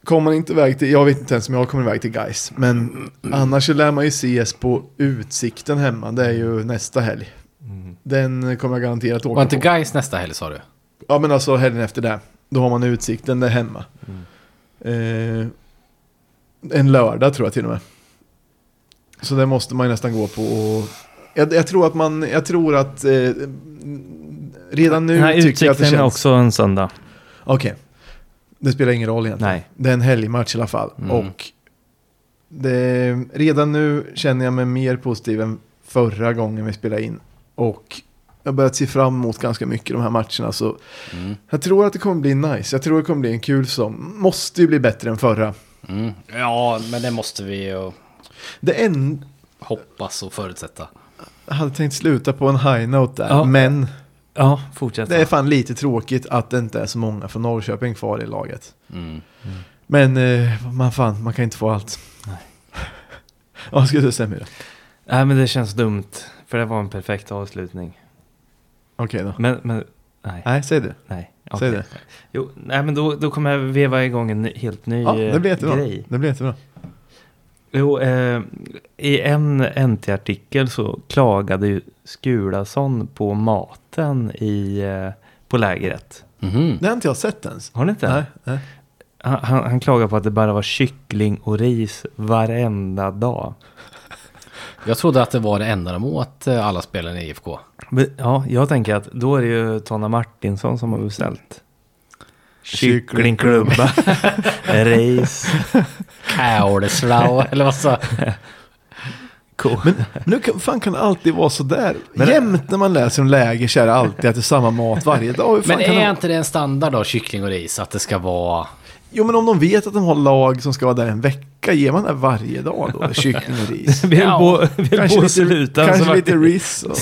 Speaker 1: kommer man inte iväg till, jag vet inte ens om jag kommer iväg till guys men annars så lär man ju ses på Utsikten hemma, det är ju nästa helg.
Speaker 2: Mm.
Speaker 1: Den kommer jag garanterat åka
Speaker 3: Var inte
Speaker 1: på.
Speaker 3: guys nästa helg sa du?
Speaker 1: Ja men alltså helgen efter det. Då har man utsikten där hemma.
Speaker 2: Mm.
Speaker 1: Eh, en lördag tror jag till och med. Så det måste man ju nästan gå på. Och jag, jag tror att man, jag tror att eh, redan nu
Speaker 2: Den här
Speaker 1: tycker jag att det
Speaker 2: utsikten är
Speaker 1: känns...
Speaker 2: också en söndag.
Speaker 1: Okej. Det spelar ingen roll egentligen.
Speaker 2: Nej.
Speaker 1: Det är en helgmatch i alla fall.
Speaker 3: Mm.
Speaker 1: Och det, redan nu känner jag mig mer positiv än förra gången vi spelade in. Och jag har börjat se fram emot ganska mycket de här matcherna. Så
Speaker 3: Mm.
Speaker 1: jag tror att det kommer bli nice. Jag tror det kommer bli en kul som måste ju bli bättre än förra.
Speaker 3: Mm. Ja, men det måste vi ju
Speaker 1: Det en,
Speaker 3: hoppas och förutsätta.
Speaker 1: jag hade tänkt sluta på en high note där,
Speaker 2: Ja.
Speaker 1: men
Speaker 2: Ja, fortsätt.
Speaker 1: det är fan lite tråkigt att det inte är så många från Norrköping kvar i laget.
Speaker 3: Mm.
Speaker 1: Men eh, man fan, man kan inte få allt. [LAUGHS] Nej. Vad ska du säga Mira?
Speaker 2: Nej, men det känns dumt. För det var en perfekt avslutning.
Speaker 1: Okej då.
Speaker 2: Men, men nej.
Speaker 1: Nej, säg du.
Speaker 2: nej.
Speaker 1: Säg
Speaker 2: Mm. okej.
Speaker 1: det.
Speaker 2: Jo, nej, men då, då kommer jag veva igång en ny- helt ny
Speaker 1: Ja, det blir
Speaker 2: eh,
Speaker 1: jättebra.
Speaker 2: grej.
Speaker 1: Det blir jättebra.
Speaker 2: Jo, eh, i en NT-artikel så klagade ju Skulason på maten i, eh, på lägret.
Speaker 3: Mhm.
Speaker 1: Det har inte jag sett ens.
Speaker 2: Har ni inte?
Speaker 1: Nej, nej.
Speaker 2: Han, han, han klagade på att det bara var kyckling och ris varenda dag.
Speaker 3: Jag trodde att det var det enda de åt, eh, alla spelarna i IFK.
Speaker 2: Men, ja, jag tänker att då är det ju Tonna Martinsson som har beställt. [LAUGHS] Kycklingklubba,
Speaker 1: [LAUGHS]
Speaker 2: ris,
Speaker 3: [LAUGHS] Kauleslau, eller vad sa
Speaker 2: ko.
Speaker 1: Nu kan, fan kan det alltid vara sådär. Jämt när man läser om läger så är det alltid att det är samma mat varje dag. Hur fan
Speaker 3: Men
Speaker 1: kan
Speaker 3: är
Speaker 1: de...
Speaker 3: inte det en standard då, kyckling och ris? Att det ska vara...
Speaker 1: Jo men om de vet att de har lag som ska vara där en vecka, ger man det varje dag
Speaker 2: [LAUGHS]
Speaker 1: då? Kyckling och ris.
Speaker 2: Vi höll
Speaker 3: Ja.
Speaker 2: på vi höll på
Speaker 1: Kanske
Speaker 2: att
Speaker 1: lite,
Speaker 2: sluta.
Speaker 1: kanske
Speaker 2: alltså, så vart
Speaker 1: lite
Speaker 2: [LAUGHS] vi
Speaker 1: ris. Och...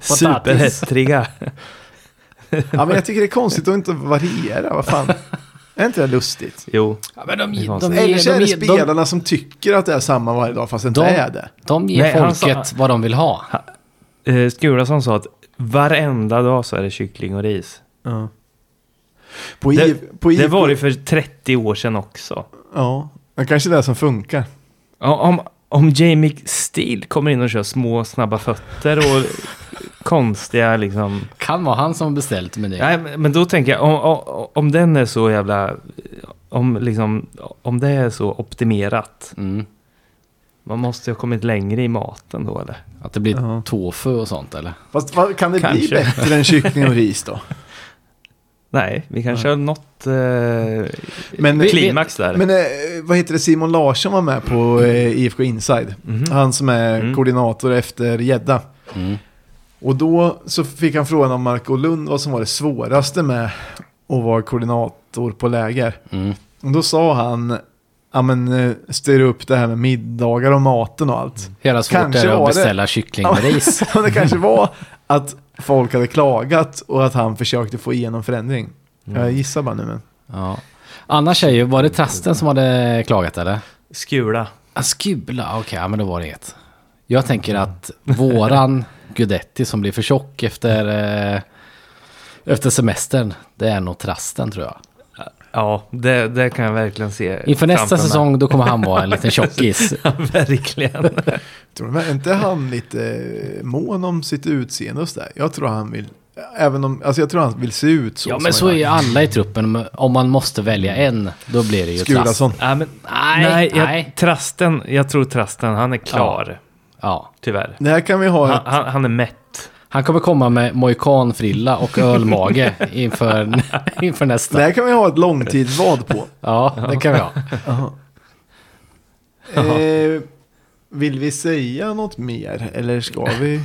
Speaker 2: Superhättriga.
Speaker 1: Ja men jag tycker det är konstigt att inte variera, vad fan. Är inte det lustigt?
Speaker 2: Jo,
Speaker 3: Ja, men de,
Speaker 2: Det är
Speaker 3: de,
Speaker 2: konstigt.
Speaker 3: ger-
Speaker 1: Eller så är
Speaker 3: de
Speaker 1: det
Speaker 3: ger- de-
Speaker 1: spelarna som tycker att det är samma varje dag fast det inte
Speaker 3: De-
Speaker 1: är det.
Speaker 3: De ger
Speaker 2: Nej, han sa-
Speaker 3: folket vad de vill ha.
Speaker 2: eh, Skulason sa att varenda dag så är det kyckling och ris.
Speaker 1: På
Speaker 2: Det-
Speaker 1: I- på
Speaker 2: Det
Speaker 1: IFK
Speaker 2: var det för 30 år sedan också.
Speaker 1: Ja, det kanske är det som funkar.
Speaker 2: Ja, om, om Jamie Steele kommer in och kör små snabba
Speaker 1: [LAUGHS]
Speaker 2: fötter och konstiga liksom.
Speaker 3: Kan vara han som beställt menyn.
Speaker 2: Nej, men- men då tänker jag om, om, om den är så jävla... Om, liksom, om det är så optimerat.
Speaker 3: Mm.
Speaker 2: Man måste ju ha kommit längre i maten då eller?
Speaker 3: Att det blir
Speaker 1: Ja.
Speaker 3: tofu och sånt eller?
Speaker 1: Fast vad, kan det bli
Speaker 2: Kanske.
Speaker 1: bättre än kyckling och ris
Speaker 2: [LAUGHS]
Speaker 1: då?
Speaker 2: Nej, vi kanske har nått eh,
Speaker 1: Men,
Speaker 2: klimax där.
Speaker 1: men eh, vad heter det, Simon Larsson var med på eh, IFK Inside.
Speaker 2: Mhm.
Speaker 1: Han som är
Speaker 2: Mm.
Speaker 1: koordinator efter Gädda.
Speaker 3: Mm.
Speaker 1: Och då så fick han frågan av Marco Lund vad som var det svåraste med att vara koordinator på läger.
Speaker 3: Mm.
Speaker 1: Och då sa han, ja men eh, styr upp det här med middagar och maten och
Speaker 2: Mm.
Speaker 1: allt.
Speaker 3: Hela svårt
Speaker 1: Kanske
Speaker 3: är det
Speaker 1: var
Speaker 3: att
Speaker 1: det-
Speaker 3: beställa kyckling
Speaker 1: [LAUGHS]
Speaker 3: och ris.
Speaker 1: Men det kanske var att folk hade klagat och att han försökte få igenom förändring.
Speaker 2: Mm.
Speaker 1: Jag gissar bara nu men.
Speaker 3: Ja. Annars är ju, var det trasten som hade klagat eller?
Speaker 2: Skula.
Speaker 3: Ah, Skula, okej, ja, men då var det inget. Jag tänker att våran Gudetti som blir för tjock efter, eh, efter semestern, det är nog trasten tror jag.
Speaker 2: Ja, det, det kan jag verkligen se.
Speaker 3: Inför nästa
Speaker 2: framför mig.
Speaker 3: säsong då kommer han vara en [LAUGHS] liten tjockis.
Speaker 2: [LAUGHS] Ja, verkligen.
Speaker 1: Tror du, är inte han lite eh, mån om sitt utseende och sådär? Jag tror han vill, även om, alltså jag tror han vill se ut så.
Speaker 3: Ja
Speaker 1: som
Speaker 3: men
Speaker 1: han
Speaker 3: så är
Speaker 1: gör.
Speaker 3: ju alla i truppen. men Om man måste välja en, då blir det ju Trast.
Speaker 1: Skulason.
Speaker 2: Nej, men,
Speaker 3: Nej,
Speaker 2: nej, jag,
Speaker 3: nej.
Speaker 2: Trasten, jag tror Trasten, han är klar.
Speaker 3: Ja.
Speaker 2: Tyvärr.
Speaker 1: Det här kan vi ha.
Speaker 2: Han, han, han är mätt.
Speaker 3: Han kommer komma med mohikanfrilla och ölmage [LAUGHS] inför, inför
Speaker 1: Det
Speaker 3: nästa.
Speaker 1: här kan vi ha ett långtidsvad på.
Speaker 3: Ja, det kan vi ha. [LAUGHS]
Speaker 1: eh, vill vi säga något mer eller ska vi?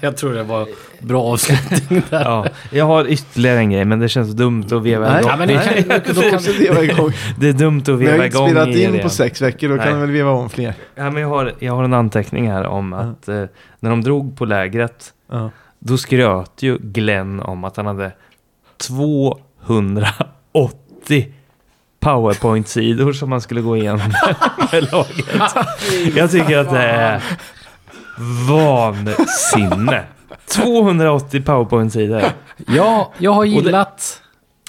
Speaker 3: Jag tror det var bra avslutning där.
Speaker 2: Ja. Jag har ytterligare en grej, men det känns dumt att veva
Speaker 1: Nej.
Speaker 2: igång.
Speaker 3: Ja, men det kan,
Speaker 2: [LAUGHS]
Speaker 3: då
Speaker 1: Då
Speaker 3: kan,
Speaker 1: måste vi vara igång.
Speaker 2: Det är dumt att
Speaker 1: Vi har
Speaker 2: veva
Speaker 1: ju inte
Speaker 2: igång
Speaker 1: spelat
Speaker 2: i
Speaker 1: in
Speaker 2: det.
Speaker 1: på sex veckor, då kan
Speaker 2: Nej.
Speaker 1: vi väl veva om fler.
Speaker 2: Ja, men jag, har, jag har en anteckning här om att eh, när de drog på lägret,
Speaker 1: Ja.
Speaker 2: då skröt ju Glenn om att han hade 280 powerpoint-sidor som man skulle gå igenom [LAUGHS] med laget. Jag tycker att det är vansinne. 280 powerpoint-sidor.
Speaker 3: ja, jag har gillat...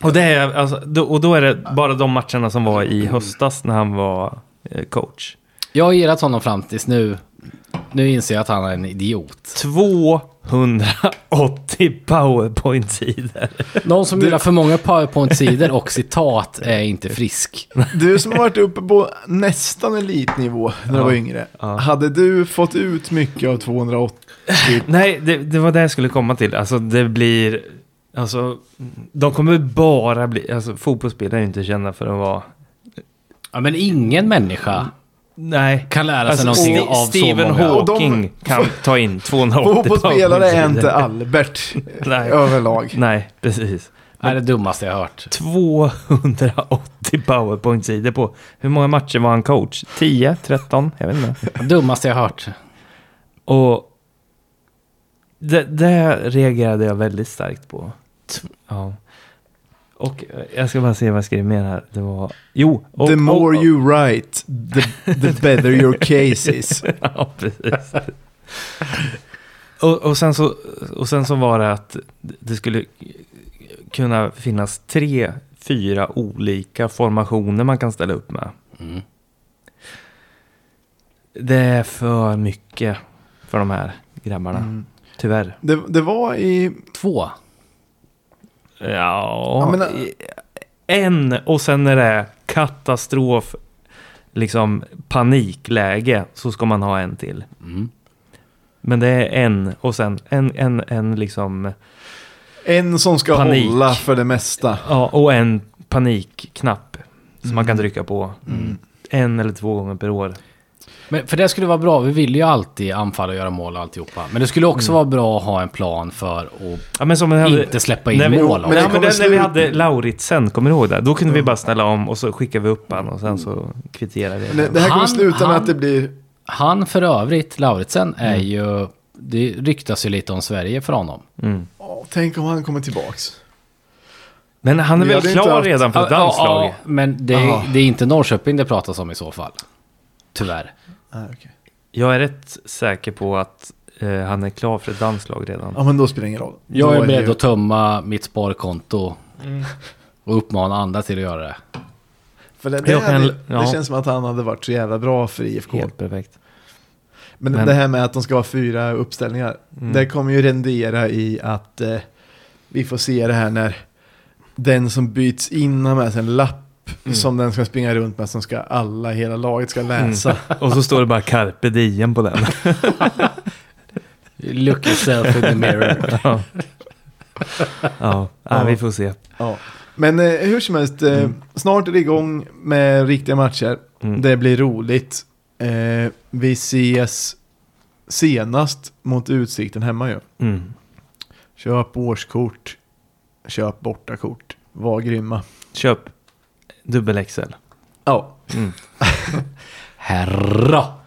Speaker 2: Och, det är, alltså, då, och då är det bara de matcherna som var i höstas när han var eh, coach.
Speaker 3: Jag har gillat honom fram tills nu. Nu inser jag att han är en idiot.
Speaker 2: 280 powerpoint-sidor.
Speaker 3: Någon som gillar för många powerpoint-sidor och citat är inte frisk.
Speaker 1: Du som har varit uppe på nästan elitnivå när du var yngre. Hade du fått ut mycket av 280?
Speaker 2: Nej, det, det var det jag skulle komma till. Alltså det blir... Alltså, de kommer bara bli... Alltså fotbollsspelare är ju inte kända för att vara...
Speaker 3: Ja, men ingen människa
Speaker 2: Nej.
Speaker 3: Kan lära sig
Speaker 2: Alltså,
Speaker 3: någonting
Speaker 2: Ste-
Speaker 3: av
Speaker 2: Steven
Speaker 3: så många.
Speaker 1: Haw- Och de-
Speaker 2: Hawking kan ta in 280
Speaker 1: Fotbollsspelare är
Speaker 2: dagligen.
Speaker 1: inte Albert
Speaker 2: [LAUGHS] Nej.
Speaker 1: överlag.
Speaker 2: Nej, precis.
Speaker 3: Det är det dummaste jag har hört.
Speaker 2: 280 powerpoint-sidor på... Hur många matcher var han coach? 10? 13? Jag vet inte.
Speaker 3: Dummaste jag har hört.
Speaker 2: Och... Det, det reagerade jag väldigt starkt på. T- Ja. Och eh, jag ska bara se vad jag skrev mer här. Det var... Jo! Och,
Speaker 1: the more
Speaker 2: och, och,
Speaker 1: you write, the, the better your case
Speaker 2: [LAUGHS]
Speaker 1: is.
Speaker 2: [LAUGHS] Ja, precis. [LAUGHS] och, och, sen så, och sen så var det att det skulle kunna finnas tre, fyra olika formationer man kan ställa upp med.
Speaker 3: Mm.
Speaker 2: Det är för mycket för de här grabbarna,
Speaker 1: Mm.
Speaker 2: tyvärr.
Speaker 1: Det, det var i...
Speaker 3: Två.
Speaker 2: Ja,
Speaker 1: men, äh-
Speaker 3: eh,
Speaker 2: i- en och sen när det är katastrof, liksom panikläge, så ska man ha en till.
Speaker 3: Mm.
Speaker 2: Men det är en och sen en, en, en liksom...
Speaker 1: En som ska
Speaker 2: Panik.
Speaker 1: hålla för det mesta.
Speaker 2: Ja, och en panikknapp som man
Speaker 3: Mm.
Speaker 2: kan trycka på en eller två gånger per år.
Speaker 3: Men för det skulle vara bra. Vi vill ju alltid anfalla och göra mål och alltihopa. Men det skulle också vara bra att ha en plan för att
Speaker 2: Ja, men som vi
Speaker 3: inte släppa in
Speaker 2: när vi,
Speaker 3: mål. alltså.
Speaker 1: men
Speaker 2: Nej,
Speaker 1: det
Speaker 2: men
Speaker 1: kommer
Speaker 2: den, när vi
Speaker 1: slut-
Speaker 2: hade Lauritsen, kommer du ihåg det? Då kunde vi bara ställa om och så skickade vi upp han och sen så kvitterade vi.
Speaker 1: Det, det här kommer
Speaker 3: Han-
Speaker 1: sluta med
Speaker 3: han-
Speaker 1: att det blir...
Speaker 3: Han för övrigt, Lauritsen, är ju... Det ryktas ju lite om Sverige för honom.
Speaker 2: Mm.
Speaker 1: Åh, tänk om han kommer tillbaks.
Speaker 2: Men han är
Speaker 1: Vi
Speaker 2: väl
Speaker 1: hade inte
Speaker 2: klar
Speaker 1: haft-
Speaker 2: redan för ett danskt lag?
Speaker 3: ja, men det,
Speaker 1: Ja.
Speaker 3: det är inte Norrköping det pratas om i så fall. Tyvärr.
Speaker 1: Ah, okay.
Speaker 2: Jag är rätt säker på att eh, han är klar för ett danslag redan.
Speaker 1: Ja, men då spelar det ingen roll.
Speaker 3: Jag
Speaker 1: Då
Speaker 3: är
Speaker 1: det
Speaker 3: beredd
Speaker 1: ju-
Speaker 3: att tömma mitt sparkonto
Speaker 2: Mm.
Speaker 3: och uppmana andra till att göra det.
Speaker 1: För det, det,
Speaker 2: Jag
Speaker 1: här,
Speaker 2: kan-
Speaker 1: det,
Speaker 2: ja.
Speaker 1: känns som att han hade varit så jävla bra för IFK.
Speaker 2: Helt perfekt.
Speaker 1: Men,
Speaker 2: Men-
Speaker 1: det här med att de ska ha fyra uppställningar,
Speaker 2: Mm.
Speaker 1: det kommer ju rendera i att eh, vi får se det här när den som byts in har med sig en lapp
Speaker 2: Mm.
Speaker 1: som den ska springa runt med som ska alla, hela laget ska läsa.
Speaker 2: Och så står det bara carpe diem på den.
Speaker 3: Look yourself in the mirror.
Speaker 2: [LAUGHS] ja. Ja. [LAUGHS] ja, vi får se.
Speaker 1: Ja. Men eh, hur som helst, eh,
Speaker 2: Mm.
Speaker 1: snart är det igång med riktiga matcher.
Speaker 2: Mm.
Speaker 1: Det blir roligt. Eh, vi ses senast mot Utsikten hemma ju.
Speaker 2: Mm.
Speaker 1: Köp årskort, köp bortakort, var grymma.
Speaker 2: Köp dubbel XL.
Speaker 1: Ja.
Speaker 2: Mm.
Speaker 3: Herra!